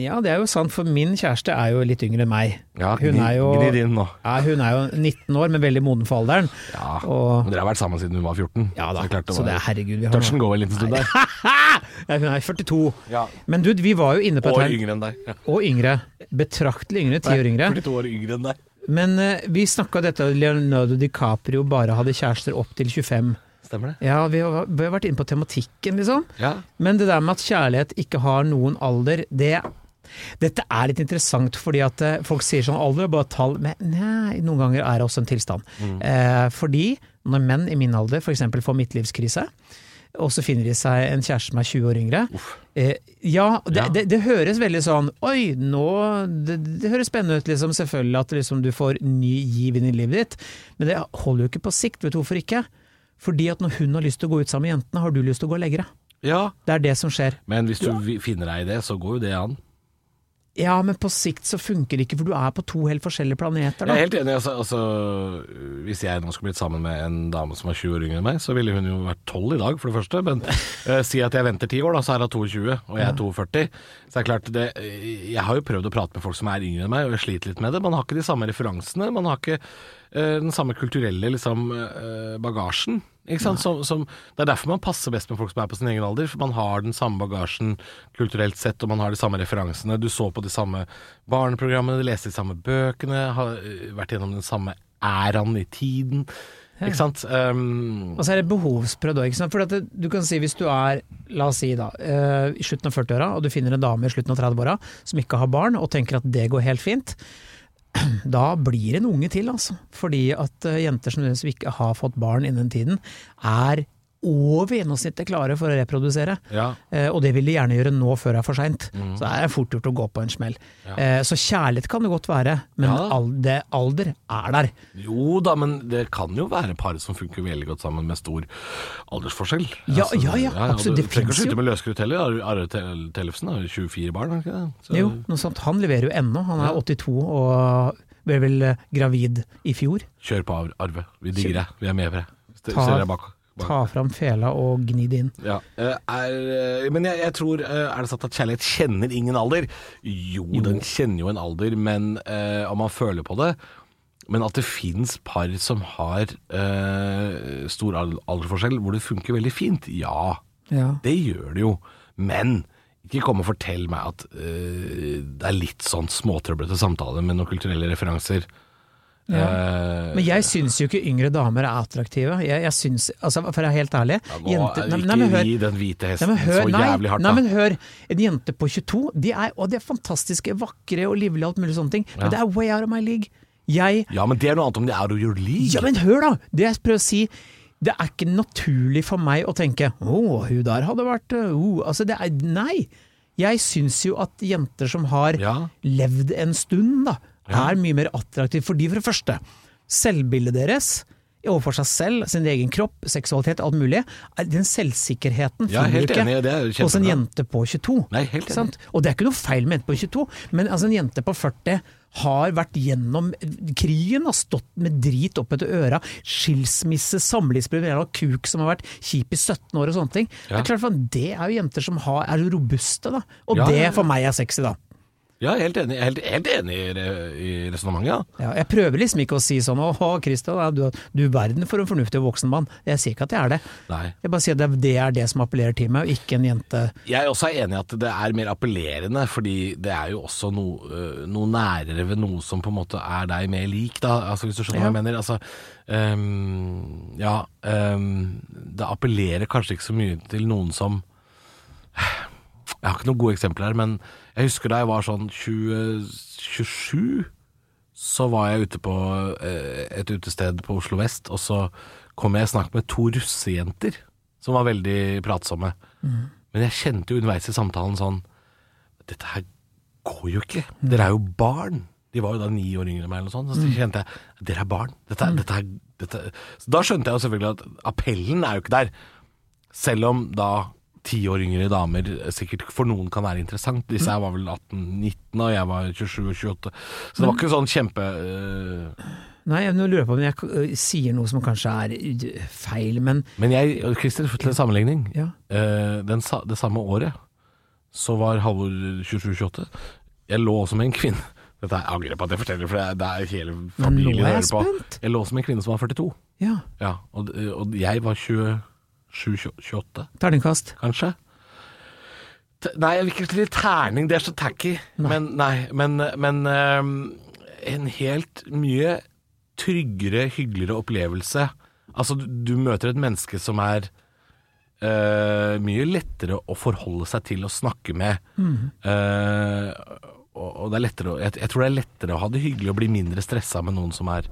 [SPEAKER 2] ja, det er jo sant, for min kjæreste er jo litt yngre enn meg.
[SPEAKER 3] Ja,
[SPEAKER 2] Hun
[SPEAKER 3] gni-
[SPEAKER 2] er jo-
[SPEAKER 3] Gni det inn nå.
[SPEAKER 2] Ja, hun er jo 19 år, men veldig moden for alderen.
[SPEAKER 3] Ja.
[SPEAKER 2] Og-
[SPEAKER 3] Men Dere har vært sammen siden hun var 14.
[SPEAKER 2] Ja da,
[SPEAKER 3] Så det er klart
[SPEAKER 2] så det er
[SPEAKER 3] var-
[SPEAKER 2] herregud vi har
[SPEAKER 3] Touchen går en liten stund der.
[SPEAKER 2] [laughs] Ja, hun er 42.
[SPEAKER 3] Ja.
[SPEAKER 2] Men du, vi var jo inne på et
[SPEAKER 3] År
[SPEAKER 2] tegn.
[SPEAKER 3] yngre enn deg. Ja.
[SPEAKER 2] Og yngre. Betraktelig yngre. Ti år
[SPEAKER 3] Nei,
[SPEAKER 2] yngre.
[SPEAKER 3] 42 år yngre enn deg.
[SPEAKER 2] Men eh, vi snakka dette at Leonardo DiCaprio bare hadde kjærester opp til 25.
[SPEAKER 3] Stemmer det?
[SPEAKER 2] Ja, vi har, vi har vært inne på tematikken, liksom.
[SPEAKER 3] Ja.
[SPEAKER 2] Men det der med at kjærlighet ikke har noen alder, det dette er litt interessant, fordi at eh, folk sier sånn alder er bare et tall, men nei, noen ganger er det også en tilstand. Eh, fordi når menn i min alder f.eks. får midtlivskrise, og så finner de seg en kjæreste som er 20 år yngre eh, Ja, det,
[SPEAKER 3] Ja.
[SPEAKER 2] Det, det høres veldig sånn Oi, nå Det, det høres spennende ut, liksom, selvfølgelig at liksom, du får ny giv inn i livet ditt, men det holder jo ikke på sikt. Vet du hvorfor ikke? Fordi at når hun har lyst til å gå ut sammen med jentene, har du lyst til å gå og legge deg.
[SPEAKER 3] ja.
[SPEAKER 2] Det er det som skjer.
[SPEAKER 3] Men hvis du vi- finner deg i det, så går jo det an.
[SPEAKER 2] Ja, men på sikt så funker det ikke, for du er på to helt forskjellige planeter.
[SPEAKER 3] Jeg
[SPEAKER 2] Da.
[SPEAKER 3] er helt enig. Altså, altså, hvis jeg nå skulle blitt sammen med en dame som er 20 år yngre enn meg, så ville hun jo vært 12 i dag, for det første. Men eh, si at jeg venter 10 år, da, så er hun 22, og jeg er 42. Så det er klart, det, jeg har jo prøvd å prate med folk som er yngre enn meg, og jeg sliter litt med det. Man har ikke de samme referansene. Man har ikke eh, den samme kulturelle liksom, eh, bagasjen. Ikke sant? Som, som, det er derfor man passer best med folk som er på sin egen alder. For man har den samme bagasjen kulturelt sett, og man har de samme referansene. Du så på de samme barneprogrammene, du leste de samme bøkene, har øh, vært gjennom den samme æraen i tiden. Ikke sant? Um,
[SPEAKER 2] Og så er det behovsprøvd òg. For at det, du kan si hvis du er, la oss si da, eh, i slutten av 40-åra, og du finner en dame i slutten av 30-åra som ikke har barn, og tenker at det går helt fint, [clears throat] da blir det en unge til, altså. Fordi at eh, jenter som nødvendigvis ikke har fått barn innen den tiden, er over gjennomsnittet klare for å reprodusere.
[SPEAKER 3] ja.
[SPEAKER 2] Eh, Og det vil de gjerne gjøre nå før det er for seint.
[SPEAKER 3] Mm.
[SPEAKER 2] Så det er fort gjort å gå på en smell. Eh, Så kjærlighet kan det godt være, men
[SPEAKER 3] Ja.
[SPEAKER 2] al- det alder er der.
[SPEAKER 3] Jo da, men det kan jo være par som funker veldig godt sammen med stor aldersforskjell. Altså,
[SPEAKER 2] Ja, ja, ja,
[SPEAKER 3] og
[SPEAKER 2] absolutt,
[SPEAKER 3] Du
[SPEAKER 2] det
[SPEAKER 3] trenger ikke
[SPEAKER 2] finnes
[SPEAKER 3] å
[SPEAKER 2] jo.
[SPEAKER 3] slutte med løskrutt heller. Are- Are Tel- Tellefsen har jo 24 barn, har han ikke det? Så-
[SPEAKER 2] Jo, noe sånt. Han leverer jo ennå. Han er
[SPEAKER 3] Mm. Ja.
[SPEAKER 2] 82 og ble vel eh, gravid i fjor.
[SPEAKER 3] Kjør på, Ar- Arve. Vi digger deg. Vi er med for deg. Ste-
[SPEAKER 2] Ta-
[SPEAKER 3] Stiller deg bak. bak.
[SPEAKER 2] Ta fram fela og gni det inn.
[SPEAKER 3] Ja. eh, Er, eh, men jeg, jeg tror eh, Er det sant at kjærlighet kjenner ingen alder? Jo, den kjenner jo en alder, men eh, om man føler på det Men at det fins par som har eh, stor al- aldersforskjell, hvor det funker veldig fint, ja.
[SPEAKER 2] Ja.
[SPEAKER 3] Det gjør det jo. Men ikke kom og fortell meg at eh, det er litt sånn småtrøblete samtale med noen kulturelle referanser. Eh,
[SPEAKER 2] Men jeg syns jo ikke yngre damer er attraktive. Jeg, jeg syns, altså, for å være helt ærlig
[SPEAKER 3] ja, nå,
[SPEAKER 2] jenter- nei,
[SPEAKER 3] ikke
[SPEAKER 2] nei, men hør.
[SPEAKER 3] ri den hvite
[SPEAKER 2] Nei,
[SPEAKER 3] hesten
[SPEAKER 2] men hør,
[SPEAKER 3] så
[SPEAKER 2] nei,
[SPEAKER 3] jævlig hardt,
[SPEAKER 2] nei,
[SPEAKER 3] da.
[SPEAKER 2] men hør. En jente på 22, de er, og de er fantastiske, vakre og livlige og alt mulig sånne ting, men
[SPEAKER 3] Ja.
[SPEAKER 2] det er way out of my league. Jeg
[SPEAKER 3] ja, men det er noe annet om det er å gjøre league.
[SPEAKER 2] Ja, men hør da! Det jeg prøver å si, det er ikke naturlig for meg å tenke 'Å, hun der hadde vært øh, oh. Altså, det er Nei! Jeg syns jo at jenter som har
[SPEAKER 3] Ja.
[SPEAKER 2] levd en stund, da, er mye mer attraktive. Fordi for det første, selvbildet deres overfor seg selv, sin egen kropp, seksualitet, alt mulig, er- den selvsikkerheten
[SPEAKER 3] Ja,
[SPEAKER 2] finner
[SPEAKER 3] helt
[SPEAKER 2] du ikke
[SPEAKER 3] enig, det er jo
[SPEAKER 2] hos en
[SPEAKER 3] kjempebra.
[SPEAKER 2] jente på 22.
[SPEAKER 3] Nei, helt enig.
[SPEAKER 2] sant? Og det er ikke noe feil med en jente på 22, men altså en jente på 40 har vært gjennom krigen, har stått med drit opp etter øra, skilsmisse, samlivsbrudd, en jævla kuk som har vært kjip i 17 år og sånne ting. Det
[SPEAKER 3] Ja.
[SPEAKER 2] er klart, faen, det er jo jenter som har, er jo robuste, da. Og
[SPEAKER 3] Ja, ja,
[SPEAKER 2] det
[SPEAKER 3] ja.
[SPEAKER 2] for meg er sexy, da.
[SPEAKER 3] Ja, helt enig, helt, helt enig i re- i resonnementet. Ja.
[SPEAKER 2] Ja, jeg prøver liksom ikke å si sånn 'Å, Christian, ja, du, du verden for en fornuftig voksen mann'. Jeg sier ikke at jeg er det.
[SPEAKER 3] Nei.
[SPEAKER 2] Jeg bare sier at det er- det er det som appellerer til meg, og ikke en jente
[SPEAKER 3] Jeg er også enig i at det er mer appellerende, fordi det er jo også noe, øh, noe nærere ved noe som på en måte er deg mer lik, da. Altså, hvis du skjønner hva jeg mener. Altså, øhm, ja, øhm, det appellerer kanskje ikke så mye til noen som Jeg har ikke noen gode eksempler her, men jeg husker da jeg var sånn 20, 27 så var jeg ute på eh, et utested på Oslo Vest, og så kom jeg i snakk med to russejenter som var veldig pratsomme. Men jeg kjente jo underveis i samtalen sånn Dette her går jo ikke. Dere er jo barn. De var jo da ni år yngre enn meg, eller noe sånt, så kjente jeg dere er barn. Dette, er- dette, er- dette. er-" Så da skjønte jeg jo selvfølgelig at appellen er jo ikke der. Selv om da ti år yngre damer sikkert for noen kan være interessant. Disse
[SPEAKER 2] Mm.
[SPEAKER 3] her var vel 18-19, og jeg var 27-28. Så det
[SPEAKER 2] Mm.
[SPEAKER 3] var ikke sånn kjempe... øh,
[SPEAKER 2] Nei, jeg nå lurer jeg på om jeg øh, sier noe som kanskje er øh, feil, men
[SPEAKER 3] Men jeg, Christer, til en sammenligning.
[SPEAKER 2] Ja.
[SPEAKER 3] Eh, den, sa- det samme året så var Halvor 27-28. Jeg lå også med en kvinne. Dette er- jeg angrer på at jeg forteller, for det er, det er hele
[SPEAKER 2] nå er
[SPEAKER 3] familien
[SPEAKER 2] jeg
[SPEAKER 3] hører på.
[SPEAKER 2] spent.
[SPEAKER 3] Jeg lå også med en kvinne som var 42.
[SPEAKER 2] ja,
[SPEAKER 3] Ja, og, øh, og jeg var 27-28,
[SPEAKER 2] terningkast.
[SPEAKER 3] kanskje. T nei, jeg vil ikke til terning, det er så tacky. Men, nei, men, men ehm, en helt mye tryggere, hyggeligere opplevelse. Altså, du, du møter et menneske som er eh, mye lettere å forholde seg til og snakke med. Eh, og, og det er lettere, å- jeg, jeg tror det er lettere å ha det hyggelig og bli mindre stressa med noen som er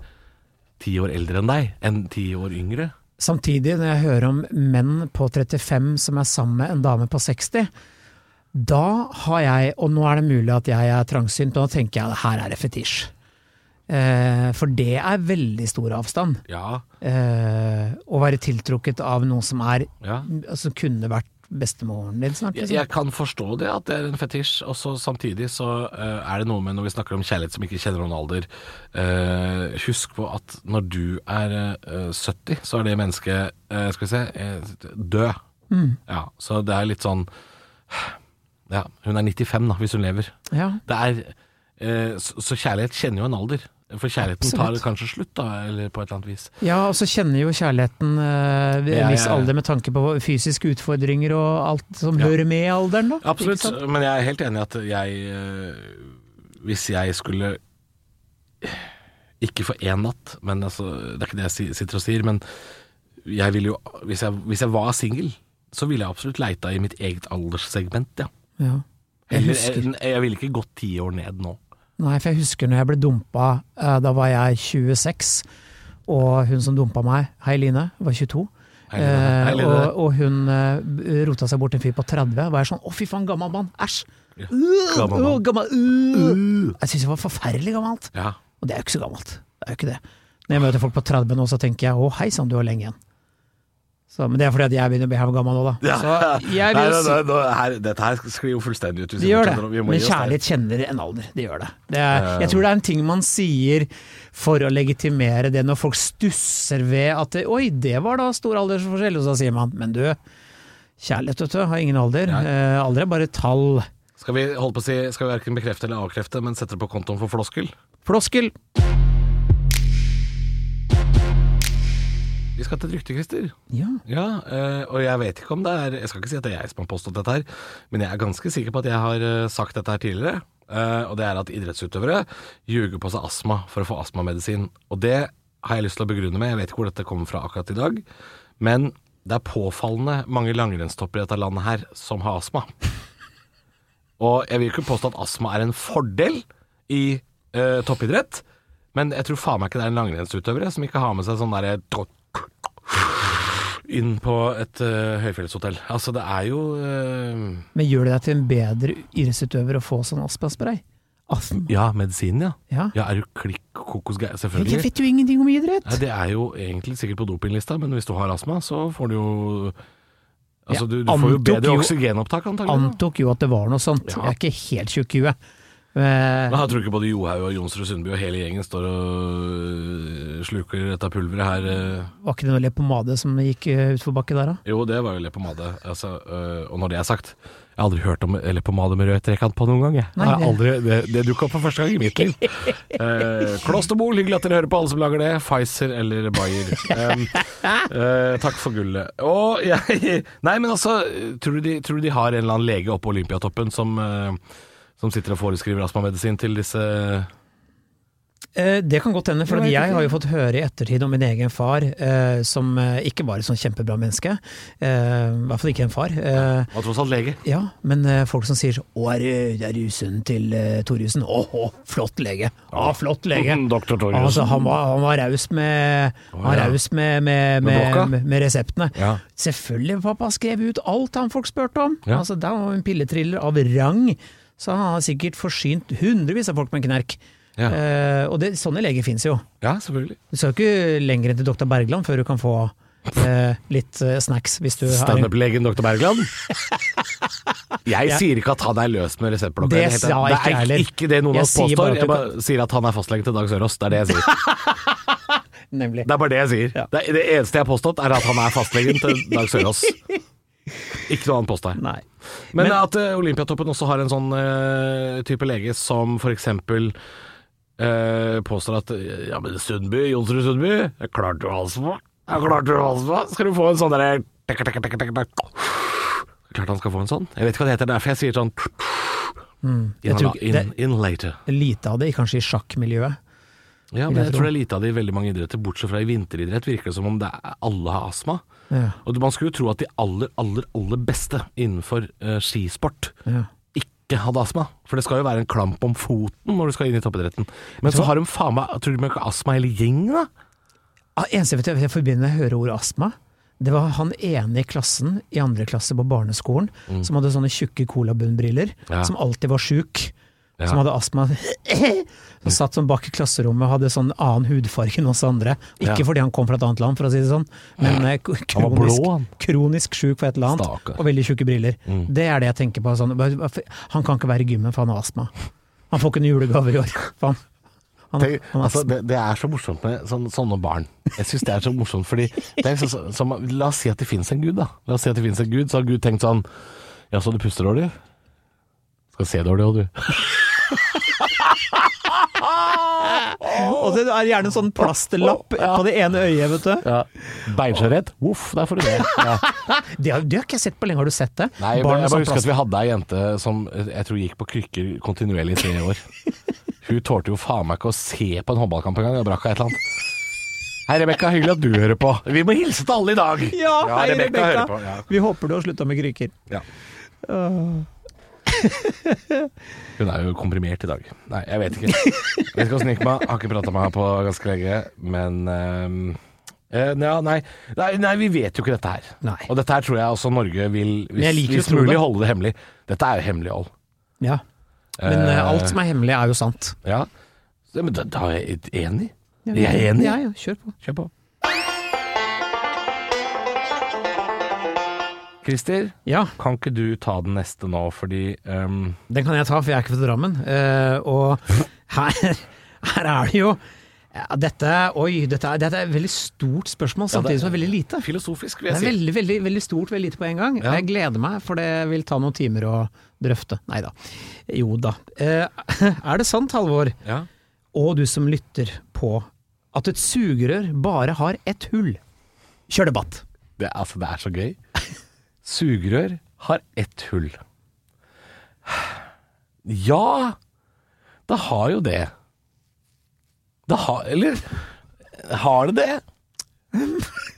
[SPEAKER 3] ti år eldre enn deg, enn ti år yngre.
[SPEAKER 2] Samtidig, når jeg hører om menn på 35 som er sammen med en dame på 60, da har jeg, og nå er det mulig at jeg er trangsynt, men da tenker jeg at her er det fetisj. Eh, for det er veldig stor avstand.
[SPEAKER 3] Ja,
[SPEAKER 2] Eh, å være tiltrukket av noen som er
[SPEAKER 3] ja.
[SPEAKER 2] altså, kunne vært bestemoren din snart.
[SPEAKER 3] Jeg,
[SPEAKER 2] Liksom.
[SPEAKER 3] jeg kan forstå det, at det er en fetisj. Og så samtidig så eh, er det noe med når vi snakker om kjærlighet som ikke kjenner noen alder. eh, husk på at når du er eh, 70, så er det mennesket eh, Skal vi se eh, død. Ja, så det er litt sånn Ja, hun er 95 da, hvis hun lever.
[SPEAKER 2] Ja.
[SPEAKER 3] Det er eh, så, så kjærlighet kjenner jo en alder. For kjærligheten
[SPEAKER 2] Absolutt.
[SPEAKER 3] tar kanskje slutt, da, eller på et eller annet vis.
[SPEAKER 2] ja, og så kjenner jo kjærligheten eh, ved
[SPEAKER 3] Ja,
[SPEAKER 2] en viss
[SPEAKER 3] ja, ja.
[SPEAKER 2] alder med tanke på fysiske utfordringer og alt som
[SPEAKER 3] Ja.
[SPEAKER 2] hører med i alderen, da.
[SPEAKER 3] Absolutt,
[SPEAKER 2] Ikke sant?
[SPEAKER 3] men jeg er helt enig i at jeg eh, Hvis jeg skulle Ikke for én natt, men altså, det er ikke det jeg si- sitter og sier, men jeg ville jo Hvis jeg, hvis jeg var singel, så ville jeg absolutt leita i mitt eget alderssegment, ja.
[SPEAKER 2] Ja. Jeg
[SPEAKER 3] Eller,
[SPEAKER 2] husker.
[SPEAKER 3] jeg, jeg ville ikke gått ti år ned nå.
[SPEAKER 2] Nei, for jeg husker når jeg ble dumpa, eh, da var jeg 26, og hun som dumpa meg, hei Line, var 22.
[SPEAKER 3] Hei, Line. Hei,
[SPEAKER 2] Eh,
[SPEAKER 3] Line.
[SPEAKER 2] og, og hun eh, b- rota seg bort til en fyr på 30. Da var jeg sånn 'å, fy faen, gammel mann', æsj!
[SPEAKER 3] Ja.
[SPEAKER 2] Uh,
[SPEAKER 3] Gammel mann.
[SPEAKER 2] uh, gammel, uh. Jeg syns det var forferdelig gammelt.
[SPEAKER 3] Ja.
[SPEAKER 2] Og det er jo ikke så gammelt. Det er jo ikke det. Når jeg møter folk på 30 nå, så tenker jeg 'å, hei sann, du har lenge igjen'. Så, men det er fordi at jeg begynner å bli her gammel nå, da.
[SPEAKER 3] [laughs]
[SPEAKER 2] Så jeg vil
[SPEAKER 3] Nei, nei,
[SPEAKER 2] jo si
[SPEAKER 3] nei, nå- her, dette her sklir jo fullstendig ut. hvis
[SPEAKER 2] det
[SPEAKER 3] vi
[SPEAKER 2] gjør
[SPEAKER 3] fortsetter, og vi
[SPEAKER 2] det,
[SPEAKER 3] må
[SPEAKER 2] men
[SPEAKER 3] gi oss der.
[SPEAKER 2] kjærlighet kjenner en alder. Det gjør det. det er, jeg tror det er en ting man sier for å legitimere det, når folk stusser ved at det, 'oi, det var da stor aldersforskjell', og så sier man 'men du, kjærlighet vet du, har ingen alder'. Eh, alder er bare tall.
[SPEAKER 3] Skal vi holde på å si Skal vi verken bekrefte eller avkrefte, men sette det på kontoen for floskel?
[SPEAKER 2] Floskel!
[SPEAKER 3] Vi skal til et rykte, Christer.
[SPEAKER 2] Ja.
[SPEAKER 3] Ja, eh, og jeg vet ikke om det er Jeg skal ikke si at det er jeg som har påstått dette her, men jeg er ganske sikker på at jeg har eh, sagt dette her tidligere. eh, og det er at idrettsutøvere ljuger på seg astma for å få astmamedisin. Og det har jeg lyst til å begrunne med. Jeg vet ikke hvor dette kommer fra akkurat i dag. Men det er påfallende mange langrennstopper i dette landet her som har astma. Og jeg vil ikke påstå at astma er en fordel i eh, toppidrett, men jeg tror faen meg ikke det er en langrennsutøvere som ikke har med seg sånn derre inn på et eh, høyfjellshotell. Altså, det er jo eh,
[SPEAKER 2] Men gjør det deg til en bedre idrettsutøver å få sånn astmaspray? Astma?
[SPEAKER 3] Ja, medisinen, ja.
[SPEAKER 2] Ja.
[SPEAKER 3] Ja, er du klikk kokosgei?
[SPEAKER 2] Jeg
[SPEAKER 3] Selvfølgelig.
[SPEAKER 2] vet jo ingenting om idrett!
[SPEAKER 3] Ja, det er jo egentlig sikkert på dopinglista, men hvis du har astma, så får du jo Altså,
[SPEAKER 2] Jeg
[SPEAKER 3] du, du får jo
[SPEAKER 2] antok
[SPEAKER 3] bedre
[SPEAKER 2] jo-
[SPEAKER 3] oksygenopptak, antagelig. da.
[SPEAKER 2] Antok jo at det var noe sånt.
[SPEAKER 3] Ja.
[SPEAKER 2] Jeg er ikke helt tjukk i huet. Eh,
[SPEAKER 3] Men jeg tror ikke både Johaug og Jonsrud Sundby og hele gjengen står og eh, sluker dette pulveret her. eh.
[SPEAKER 2] Var ikke det noe leppepomade som gikk eh, utfor bakke der, da?
[SPEAKER 3] Jo, det var jo leppepomade. Altså, øh, og når det er sagt, jeg har aldri hørt om leppepomade med rød trekant på noen gang. Jeg.
[SPEAKER 2] Nei,
[SPEAKER 3] Jeg har
[SPEAKER 2] det-
[SPEAKER 3] aldri, det det dukka opp for første gang i mitt liv. Eh, Klosterboel, hyggelig at dere hører på alle som lager det. Pfizer eller Bayer. Um, eh, takk for gullet. Og jeg [laughs] Nei, men altså, tror du de, tror du de har en eller annen lege oppe på Olympiatoppen som, eh, som sitter og foreskriver astmamedisin til disse
[SPEAKER 2] Eh, Det kan godt hende, for
[SPEAKER 3] Jeg
[SPEAKER 2] at
[SPEAKER 3] vet
[SPEAKER 2] jeg
[SPEAKER 3] ikke.
[SPEAKER 2] har jo fått høre i ettertid om min egen far, eh, som eh, ikke var et sånn kjempebra menneske. Eh, I hvert fall ikke en far. Eh,
[SPEAKER 3] Han er tross alt lege.
[SPEAKER 2] ja, men eh, folk som sier 'Å, er du- er du sønnen til eh, Thorjussen?' 'Å, å, flott lege'. Å, flott lege.
[SPEAKER 3] Doktor Thorjussen.
[SPEAKER 2] Altså, han var, han var raus med, han var
[SPEAKER 3] ja.
[SPEAKER 2] raus med, med,
[SPEAKER 3] Med blokka?
[SPEAKER 2] med, med, med reseptene.
[SPEAKER 3] Ja.
[SPEAKER 2] Selvfølgelig, pappa skrev ut alt han folk spurte om.
[SPEAKER 3] Ja.
[SPEAKER 2] Altså, det var en pilletriller av rang, så han har sikkert forsynt hundrevis av folk med en knerk.
[SPEAKER 3] Ja.
[SPEAKER 2] Eh, og det, sånne leger fins jo.
[SPEAKER 3] Ja, selvfølgelig.
[SPEAKER 2] Du skal ikke lenger enn til doktor Bergland før du kan få eh, litt eh, snacks hvis du har en
[SPEAKER 3] Standup-legen dr.
[SPEAKER 2] [laughs]
[SPEAKER 3] Bergland. Jeg sier ikke at han er løs med reseptblokka.
[SPEAKER 2] Det
[SPEAKER 3] i hele tatt.
[SPEAKER 2] sa jeg ikke
[SPEAKER 3] det
[SPEAKER 2] heller.
[SPEAKER 3] er ikke det noen
[SPEAKER 2] Jeg
[SPEAKER 3] av oss
[SPEAKER 2] sier bare at du
[SPEAKER 3] påstår. Jeg bare sier at han er fastlegen til Dag Sørås. Det er det jeg sier.
[SPEAKER 2] Nemlig.
[SPEAKER 3] Det er bare det jeg sier.
[SPEAKER 2] [laughs] Ja.
[SPEAKER 3] Det, er- det eneste jeg har påstått, er at han er fastlegen til Dag
[SPEAKER 2] [laughs]
[SPEAKER 3] Sørås. Ikke noe annet påstår.
[SPEAKER 2] Nei.
[SPEAKER 3] Men, at eh, Olympiatoppen også har en sånn eh, type lege som f.eks. Uh, påstår at eh, Ja, men Sundby, Jonsrud Sundby, det klarte du halsen på. Det klarte du halsen på. Skal du få en sånn derre tek, tek, tek, tek, tek. Klart han skal få en sånn. Jeg vet ikke hva det heter, det er derfor jeg sier sånn Mm.
[SPEAKER 2] jeg
[SPEAKER 3] in,
[SPEAKER 2] tror ikke-
[SPEAKER 3] in, in later.
[SPEAKER 2] Lite av det, kanskje i sjakkmiljøet.
[SPEAKER 3] Ja,
[SPEAKER 2] vil
[SPEAKER 3] men
[SPEAKER 2] jeg
[SPEAKER 3] jeg
[SPEAKER 2] tro.
[SPEAKER 3] tror det er lite av det i veldig mange idretter, bortsett fra i vinteridrett virker det som om det er, alle har astma.
[SPEAKER 2] Ja.
[SPEAKER 3] Og man skulle jo tro at de aller, aller, aller beste innenfor eh, skisport
[SPEAKER 2] Ja.
[SPEAKER 3] ikke hadde astma. For det skal jo være en klamp om foten når du skal inn i toppidretten. Men så har de faen meg Tror du de ikke har astma hele gjengen, da?
[SPEAKER 2] Ah, eneste jeg vet jeg forbinder med å høre ordet astma, det var han ene i klassen i andre klasse på barneskolen som hadde sånne tjukke colabunnbriller,
[SPEAKER 3] Mm. Ja.
[SPEAKER 2] som alltid var sjuk.
[SPEAKER 3] Ja.
[SPEAKER 2] Som hadde astma. [clears throat] Som satt sånn bak i klasserommet og hadde sånn annen hudfarge enn oss andre. Ikke
[SPEAKER 3] Ja.
[SPEAKER 2] fordi han kom fra et annet land, for å si det sånn, men eh, k-
[SPEAKER 3] Han var blå,
[SPEAKER 2] kronisk,
[SPEAKER 3] han.
[SPEAKER 2] kronisk sjuk for et eller annet.
[SPEAKER 3] Stakkar. Mm.
[SPEAKER 2] Og veldig tjukke briller. Det er det jeg tenker på. Sånn. bare- bare for- Han kan ikke være i gymmen, for han har astma. Han får ikke noen julegaver i år. For han, han,
[SPEAKER 3] Tenk,
[SPEAKER 2] han har
[SPEAKER 3] altså, det, det er så morsomt med sånn, sånne barn. Jeg syns det er så morsomt, fordi det er liksom så- som, La oss si at det fins en gud, da. La oss si at det finnes en gud, så har Gud tenkt sånn Ja, så du puster dårlig? Skal se dårlig òg, du.
[SPEAKER 2] Og det er gjerne en sånn plasterlapp på det ene øyet, vet du.
[SPEAKER 3] Ja. [laughs] Beinskjørhet? Voff, der får du det. Ja.
[SPEAKER 2] Det har, det har ikke jeg sett på lenge, har du sett det?
[SPEAKER 3] Nei, jeg,
[SPEAKER 2] Barn
[SPEAKER 3] bare-
[SPEAKER 2] med
[SPEAKER 3] jeg bare
[SPEAKER 2] sånn
[SPEAKER 3] husker at
[SPEAKER 2] plast-
[SPEAKER 3] vi hadde ei jente som eh, jeg tror gikk på krykker kontinuerlig i tre år. Hun tålte jo faen meg ikke å se på en håndballkamp engang, og brakk av et eller annet. Hei, Rebekka, hyggelig at du hører på. Vi må hilse til alle i dag.
[SPEAKER 2] Ja, hei,
[SPEAKER 3] Rebecca
[SPEAKER 2] Rebecca.
[SPEAKER 3] hører på, ja.
[SPEAKER 2] Vi håper du har slutta med krykker.
[SPEAKER 3] Ja. [laughs] Hun er jo komprimert i dag. Nei, jeg vet ikke. Jeg vet ikke åssen det gikk med henne. Har ikke prata med henne på ganske lenge. Men ehm, eh, ja, nei, nei, nei, vi vet jo ikke dette her.
[SPEAKER 2] Nei.
[SPEAKER 3] Og dette her tror jeg også Norge vil,
[SPEAKER 2] jeg
[SPEAKER 3] hvis,
[SPEAKER 2] liker
[SPEAKER 3] hvis
[SPEAKER 2] å tro
[SPEAKER 3] mulig,
[SPEAKER 2] det.
[SPEAKER 3] holde det hemmelig. Dette er jo hemmelighold.
[SPEAKER 2] Ja. Men eh,
[SPEAKER 3] Eh,
[SPEAKER 2] alt som er hemmelig, er jo sant.
[SPEAKER 3] Ja. Så, Men da, da er jeg enig. Jeg er enig.
[SPEAKER 2] Ja, ja, kjør på.
[SPEAKER 3] Kjør på. Christer,
[SPEAKER 2] Ja,
[SPEAKER 3] kan ikke du ta den neste nå, fordi ehm,
[SPEAKER 2] den kan jeg ta, for jeg er ikke fra Drammen. Eh, og [laughs] her, her er det jo ja, Dette Oi, dette er, dette er et veldig stort spørsmål,
[SPEAKER 3] Ja,
[SPEAKER 2] samtidig som det er veldig lite.
[SPEAKER 3] Filosofisk, vil
[SPEAKER 2] Det
[SPEAKER 3] jeg
[SPEAKER 2] er
[SPEAKER 3] si.
[SPEAKER 2] veldig, veldig, veldig stort, veldig lite på en gang.
[SPEAKER 3] Ja.
[SPEAKER 2] Jeg gleder meg, for det vil ta noen timer å drøfte. Nei da. Jo da. Eh, [laughs] er det sant, Halvor,
[SPEAKER 3] Ja.
[SPEAKER 2] og du som lytter på, at et sugerør bare har ett hull? Kjør debatt!
[SPEAKER 3] Det, altså, det er så gøy. Sugerør har ett hull. Ja, det har jo det. Det har Eller har det det?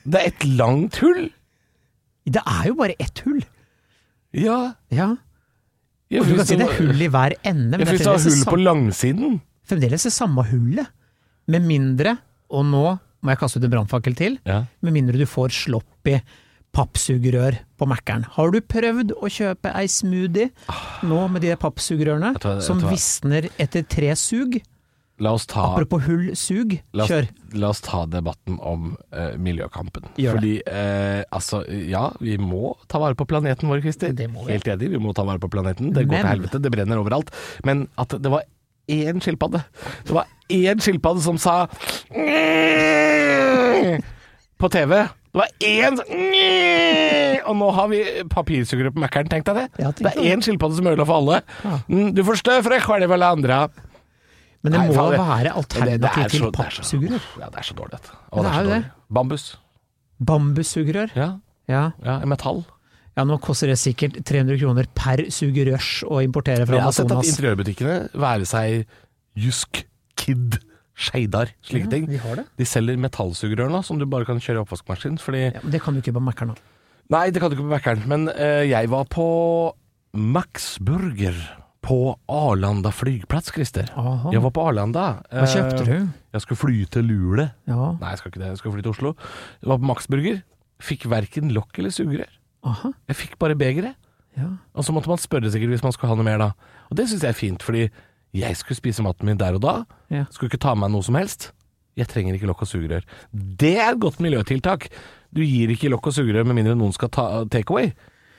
[SPEAKER 3] Det er et langt hull.
[SPEAKER 2] Det er jo bare ett hull!
[SPEAKER 3] Ja.
[SPEAKER 2] Ja.
[SPEAKER 3] Jeg
[SPEAKER 2] Du kan si det er hull i hver ende, men det er
[SPEAKER 3] Jeg synes det var
[SPEAKER 2] fremdeles,
[SPEAKER 3] hull
[SPEAKER 2] det
[SPEAKER 3] på
[SPEAKER 2] samme,
[SPEAKER 3] langsiden.
[SPEAKER 2] fremdeles det samme hullet. Med mindre, og nå må jeg kaste ut en brannfakkel til,
[SPEAKER 3] Ja.
[SPEAKER 2] med mindre du får sloppy pappsugerør på Mækkern. Har du prøvd å kjøpe ei smoothie nå med de der pappsugerørene
[SPEAKER 3] tror jeg- jeg
[SPEAKER 2] som
[SPEAKER 3] tror jeg-
[SPEAKER 2] visner etter tre sug?
[SPEAKER 3] La oss ta
[SPEAKER 2] Apropos hull sug,
[SPEAKER 3] La oss,
[SPEAKER 2] kjør.
[SPEAKER 3] la oss ta debatten om eh, miljøkampen.
[SPEAKER 2] Gjør det.
[SPEAKER 3] Fordi eh, altså, ja, vi må ta vare på planeten vår, Christer.
[SPEAKER 2] Det må vi.
[SPEAKER 3] Helt enig, vi må ta vare på planeten. Det går
[SPEAKER 2] Men-
[SPEAKER 3] til helvete, det brenner overalt. Men at det var én skilpadde Det var én skilpadde som sa på TV. Det var én som- Og nå har vi papirsugerør på Mækkern, tenk deg det.
[SPEAKER 2] Ja, tenk
[SPEAKER 3] det
[SPEAKER 2] deg
[SPEAKER 3] er én skilpadde som ødela for alle. Mm, Du forstår, for jeg kvelver alle andre.
[SPEAKER 2] Men det
[SPEAKER 3] Nei,
[SPEAKER 2] må
[SPEAKER 3] faen, det-
[SPEAKER 2] være
[SPEAKER 3] Det- det er
[SPEAKER 2] alternativ til
[SPEAKER 3] så- det er så-
[SPEAKER 2] pappsugerør.
[SPEAKER 3] Ja, det er så dårlig, dette.
[SPEAKER 2] Det
[SPEAKER 3] Å, det er
[SPEAKER 2] er
[SPEAKER 3] så
[SPEAKER 2] jo det.
[SPEAKER 3] dårlig. Bambus.
[SPEAKER 2] Bambussugerør.
[SPEAKER 3] Ja,
[SPEAKER 2] Ja.
[SPEAKER 3] ja metall.
[SPEAKER 2] ja, nå koster det sikkert 300 kroner per sugerørs å importere fra
[SPEAKER 3] Jeg har sett at
[SPEAKER 2] Amazonas.
[SPEAKER 3] interiørbutikkene, være seg Jysk, Kid, Skeidar, slike ting,
[SPEAKER 2] de har det.
[SPEAKER 3] de selger metallsugerør nå, som du bare kan kjøre i oppvaskmaskin. Fordi
[SPEAKER 2] Ja, men det kan du ikke på Mækkern. da.
[SPEAKER 3] Nei, det kan du ikke på Mækkern, men eh, jeg var på Max Burger på Arlanda flyplass, Christer.
[SPEAKER 2] Aha.
[SPEAKER 3] Jeg var på Arlanda. eh,
[SPEAKER 2] Hva kjøpte du?
[SPEAKER 3] Jeg skulle fly til Lule.
[SPEAKER 2] Ja,
[SPEAKER 3] Nei, jeg skal ikke det. Jeg skal fly til Oslo. Jeg var på Max Burger. Fikk verken lokk eller sugerør.
[SPEAKER 2] aha.
[SPEAKER 3] Jeg fikk bare begeret.
[SPEAKER 2] Ja.
[SPEAKER 3] Og så måtte man spørre sikkert hvis man skulle ha noe mer da. Og det syns jeg er fint, fordi Jeg skulle spise maten min der og da.
[SPEAKER 2] Ja.
[SPEAKER 3] Skulle ikke ta med meg noe som helst. Jeg trenger ikke lokk og sugerør. Det er et godt miljøtiltak. Du gir ikke lokk og sugerør med mindre noen skal ta take away.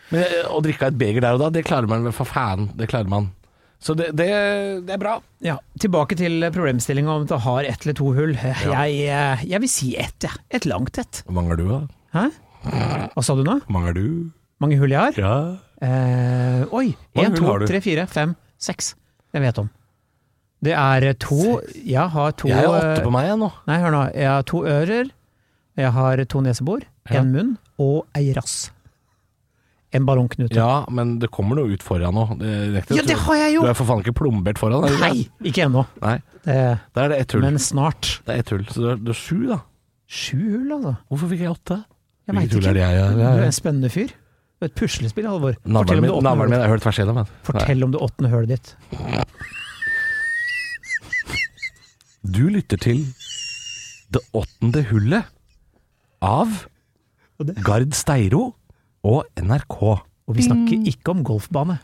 [SPEAKER 3] Men eh, å drikke av et beger der og da, det klarer man vel for faen. Det klarer man. Så det, det, det er bra.
[SPEAKER 2] Ja, Tilbake til problemstillinga om at det har ett eller to hull. Jeg, eh, jeg vil si ett, jeg. Et langt ett.
[SPEAKER 3] Hvor mange er du, da?
[SPEAKER 2] Hæ? Hva sa du nå?
[SPEAKER 3] Hvor mange er du?
[SPEAKER 2] Mange hull jeg har?
[SPEAKER 3] Ja.
[SPEAKER 2] Eh, oi! Én,
[SPEAKER 3] Mange hull
[SPEAKER 2] to,
[SPEAKER 3] har du?
[SPEAKER 2] tre, fire, fem, seks. Jeg vet om. Det er to Jeg har to eh,
[SPEAKER 3] Jeg er åtte på meg jeg, nå.
[SPEAKER 2] Nei, hør nå. Jeg har to ører, jeg har to nesebor,
[SPEAKER 3] Ja.
[SPEAKER 2] en munn og ei rass. En ballongknute.
[SPEAKER 3] Ja, men det kommer noe ut foran nå. Det er riktig.
[SPEAKER 2] Ja, det har jeg jo!
[SPEAKER 3] Du er for faen ikke plombert foran. er du
[SPEAKER 2] Nei, ikke ennå.
[SPEAKER 3] det? Nei.
[SPEAKER 2] Eh,
[SPEAKER 3] Da er det ett hull.
[SPEAKER 2] Men snart.
[SPEAKER 3] Det er ett hull. Så du er, du er sju, da.
[SPEAKER 2] Sju hull, altså.
[SPEAKER 3] Hvorfor fikk jeg åtte?
[SPEAKER 2] Jeg veit
[SPEAKER 3] Hvilket hull
[SPEAKER 2] ikke.
[SPEAKER 3] er det jeg- jeg-
[SPEAKER 2] Du
[SPEAKER 3] jeg-
[SPEAKER 2] er en spennende fyr. Du er et puslespill, Halvor.
[SPEAKER 3] Navlen
[SPEAKER 2] om
[SPEAKER 3] min,
[SPEAKER 2] det åttende
[SPEAKER 3] navlen min
[SPEAKER 2] hullet.
[SPEAKER 3] er hørt tvers igjennom. men.
[SPEAKER 2] Fortell om det åttende hølet ditt.
[SPEAKER 3] Nei. Du lytter til Det åttende hullet av
[SPEAKER 2] Og det-
[SPEAKER 3] Gard Steiro og NRK.
[SPEAKER 2] Og vi snakker ikke om golfbane.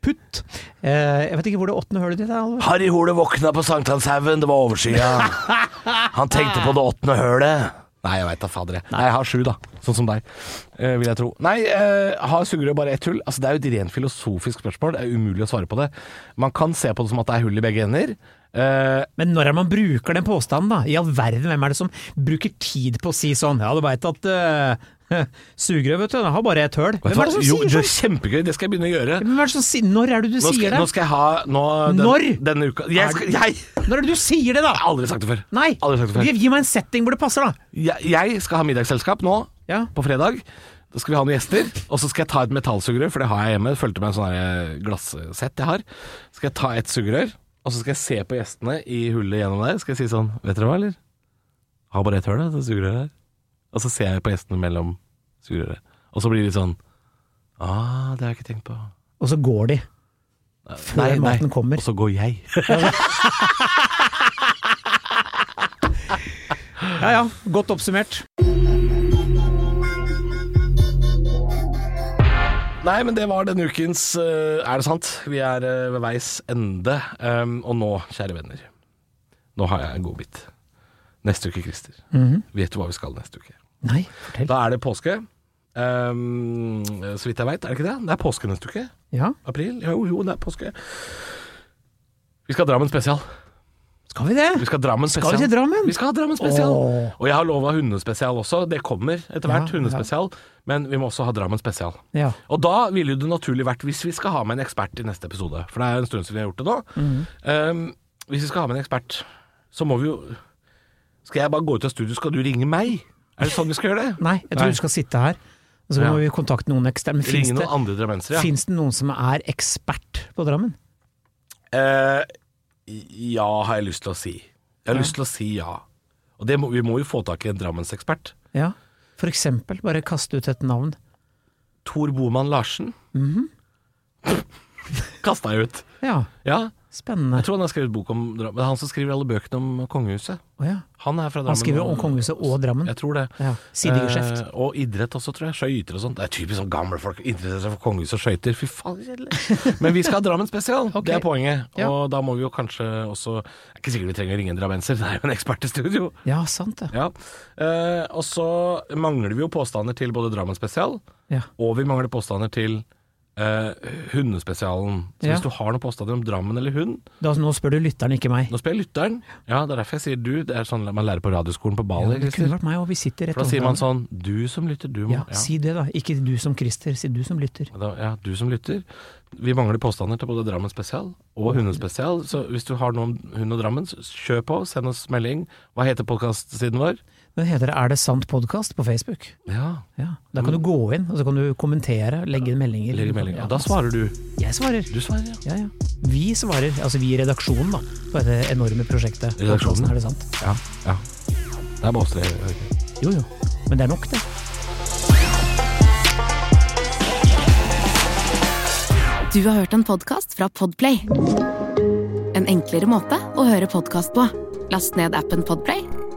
[SPEAKER 2] Putt! Eh, jeg vet ikke hvor det åttende hølet ditt er, Halvor.
[SPEAKER 3] Harry Hole våkna på Sankthanshaugen, det var [laughs] overskya. Han tenkte på det åttende hølet. Nei, jeg veit da fader. jeg. Nei, jeg har sju, da. Sånn som deg, eh, vil jeg tro. Nei, eh, har sugerør bare ett hull? Altså, det er jo et rent filosofisk spørsmål. Det er umulig å svare på det. Man kan se på det som at det er hull i begge ender. Eh,
[SPEAKER 2] Men når er det man bruker den påstanden, da? I all verden, hvem er det som bruker tid på å si sånn? Ja, du veit at uh, [laughs] sugerøy, vet du, den har bare ett høl.
[SPEAKER 3] vet
[SPEAKER 2] Hvem
[SPEAKER 3] du
[SPEAKER 2] er det som
[SPEAKER 3] hva? Jo, det
[SPEAKER 2] sier
[SPEAKER 3] er
[SPEAKER 2] sånn?
[SPEAKER 3] kjempegøy. Det skal jeg begynne å gjøre.
[SPEAKER 2] Hvem er det som sier Når er det du
[SPEAKER 3] Nå
[SPEAKER 2] sier
[SPEAKER 3] skal,
[SPEAKER 2] det?
[SPEAKER 3] nå skal jeg ha nå, den,
[SPEAKER 2] Når?
[SPEAKER 3] Denne uka.
[SPEAKER 2] Er
[SPEAKER 3] Jeg, skal,
[SPEAKER 2] det-
[SPEAKER 3] jeg
[SPEAKER 2] Når er det du sier det, da?
[SPEAKER 3] jeg har aldri sagt det før.
[SPEAKER 2] Nei!
[SPEAKER 3] Aldri sagt det før.
[SPEAKER 2] Gi, gi meg en setting hvor det passer, da.
[SPEAKER 3] Jeg, jeg skal ha middagsselskap nå
[SPEAKER 2] Ja.
[SPEAKER 3] på fredag. Da skal vi ha noen gjester, og så skal jeg ta et metallsugerør, for det har jeg hjemme. Det Fulgte med en sånn her glassett jeg har. Skal jeg ta et sugerør, og så skal jeg se på gjestene i hullet gjennom der. Skal jeg si sånn Vet dere hva, eller? Har bare ett hull, det sugerøret her. Og så ser jeg på gjestene mellom sugerøret. Og så blir de sånn Ah, det har jeg ikke tenkt på.
[SPEAKER 2] Og så går de. Før maten kommer.
[SPEAKER 3] Og så går jeg.
[SPEAKER 2] Ja ja, godt oppsummert.
[SPEAKER 3] Nei, men det var denne ukens eh, Er det sant? Vi er eh, ved veis ende. Um, og nå, kjære venner, nå har jeg en godbit. Neste uke, Christer.
[SPEAKER 2] Mhm.
[SPEAKER 3] Vet du hva vi skal neste uke?
[SPEAKER 2] Nei, fortell.
[SPEAKER 3] Da er det påske. Um, så vidt jeg veit, er det ikke det? Det er påske neste uke.
[SPEAKER 2] Ja,
[SPEAKER 3] April? Jo, jo, det er påske. Vi skal ha Drammen spesial.
[SPEAKER 2] skal vi det?
[SPEAKER 3] Vi skal ha Drammen
[SPEAKER 2] Skal
[SPEAKER 3] spesial.
[SPEAKER 2] vi til Drammen?
[SPEAKER 3] Vi skal ha Drammen spesial.
[SPEAKER 2] Åh.
[SPEAKER 3] Og jeg har lova hundespesial også. Det kommer etter hvert.
[SPEAKER 2] Ja,
[SPEAKER 3] hundespesial. Men vi må også ha Drammen spesial.
[SPEAKER 2] Ja.
[SPEAKER 3] Og da ville det naturlig vært, hvis vi skal ha med en ekspert i neste episode, for det er jo en stund siden vi har gjort det nå
[SPEAKER 2] Mhm.
[SPEAKER 3] um, Hvis vi skal ha med en ekspert, så må vi jo Skal jeg bare gå ut av studio, skal du ringe meg? Er det sånn vi skal gjøre det?
[SPEAKER 2] Nei, jeg tror
[SPEAKER 3] Nei.
[SPEAKER 2] du skal sitte her. Og så
[SPEAKER 3] Ja.
[SPEAKER 2] må vi kontakte noen eksterne. Men fins
[SPEAKER 3] Ringe
[SPEAKER 2] det,
[SPEAKER 3] noen andre drammensere, ja.
[SPEAKER 2] finnes det noen som er ekspert på Drammen?
[SPEAKER 3] Eh, ja, har jeg lyst til å si. Jeg har lyst til å si ja. Og det må, vi må jo få tak i en Drammensekspert.
[SPEAKER 2] Ja, for eksempel. Bare kaste ut et navn.
[SPEAKER 3] Tor Boman Larsen. Mm
[SPEAKER 2] Mhm.
[SPEAKER 3] [laughs] Kasta jeg ut.
[SPEAKER 2] Ja,
[SPEAKER 3] Ja.
[SPEAKER 2] spennende.
[SPEAKER 3] Jeg tror han har skrevet bok om Drammen. Det er han som skriver alle bøkene om kongehuset.
[SPEAKER 2] Å ja.
[SPEAKER 3] Han er fra
[SPEAKER 2] Han
[SPEAKER 3] Drammen.
[SPEAKER 2] skriver
[SPEAKER 3] og-
[SPEAKER 2] om kongehuset og Drammen.
[SPEAKER 3] Jeg tror det.
[SPEAKER 2] Mm. Ja, Sidegeskjeft.
[SPEAKER 3] Eh, og idrett også, tror jeg. Skøyter og sånt. Det er typisk sånn gamle folk interesserer seg for kongehus og skøyter. Fy faen,
[SPEAKER 2] [laughs]
[SPEAKER 3] kjedelig. Men vi skal ha Drammen spesial,
[SPEAKER 2] Ok.
[SPEAKER 3] det er poenget.
[SPEAKER 2] Ja.
[SPEAKER 3] Og da må vi jo kanskje også Det er ikke sikkert vi trenger å ringe en drammenser, [laughs] det er jo en ekspert i studio.
[SPEAKER 2] Ja, sant det.
[SPEAKER 3] Ja. Eh, og så mangler vi jo påstander til både Drammen spesial
[SPEAKER 2] Ja.
[SPEAKER 3] og vi mangler påstander til eh, hundespesialen. Så
[SPEAKER 2] Ja.
[SPEAKER 3] hvis du har noen påstander om Drammen eller hund,
[SPEAKER 2] Da, nå spør du lytteren, ikke meg.
[SPEAKER 3] nå spiller jeg lytteren. Ja, det er derfor jeg sier du. Det er sånn man lærer på radioskolen på Bali.
[SPEAKER 2] Det kunne
[SPEAKER 3] Christer.
[SPEAKER 2] vært meg, og vi sitter rett
[SPEAKER 3] For da sier
[SPEAKER 2] overfor
[SPEAKER 3] man sånn Du som lytter, du
[SPEAKER 2] hverandre.
[SPEAKER 3] må
[SPEAKER 2] Ja, si det, da. Ikke du som Christer, si du som lytter.
[SPEAKER 3] Da- ja, du som lytter. Vi mangler påstander til både Drammen spesial og Hundespesial. Så hvis du har noe om hund og Drammen, så kjør på. Send oss melding. Hva heter podkastsiden vår?
[SPEAKER 2] Den heter Er det sant podkast på Facebook.
[SPEAKER 3] Ja,
[SPEAKER 2] Ja, Da
[SPEAKER 3] Mm.
[SPEAKER 2] kan du gå inn, og så kan du kommentere, legge inn meldinger.
[SPEAKER 3] legg melding.
[SPEAKER 2] Ja,
[SPEAKER 3] Og da svarer du.
[SPEAKER 2] Jeg svarer.
[SPEAKER 3] Du svarer, ja.
[SPEAKER 2] Ja, ja. Vi svarer, altså vi i redaksjonen, da, på dette enorme prosjektet.
[SPEAKER 3] Redaksjonen?
[SPEAKER 2] Er det sant?
[SPEAKER 3] Ja. ja. Det er bare oss tre. er det ikke?
[SPEAKER 2] Jo, jo. Men det er nok, det.
[SPEAKER 1] Du har hørt en podcast fra Podplay En enklere måte å høre podcast på Last ned appen Podplay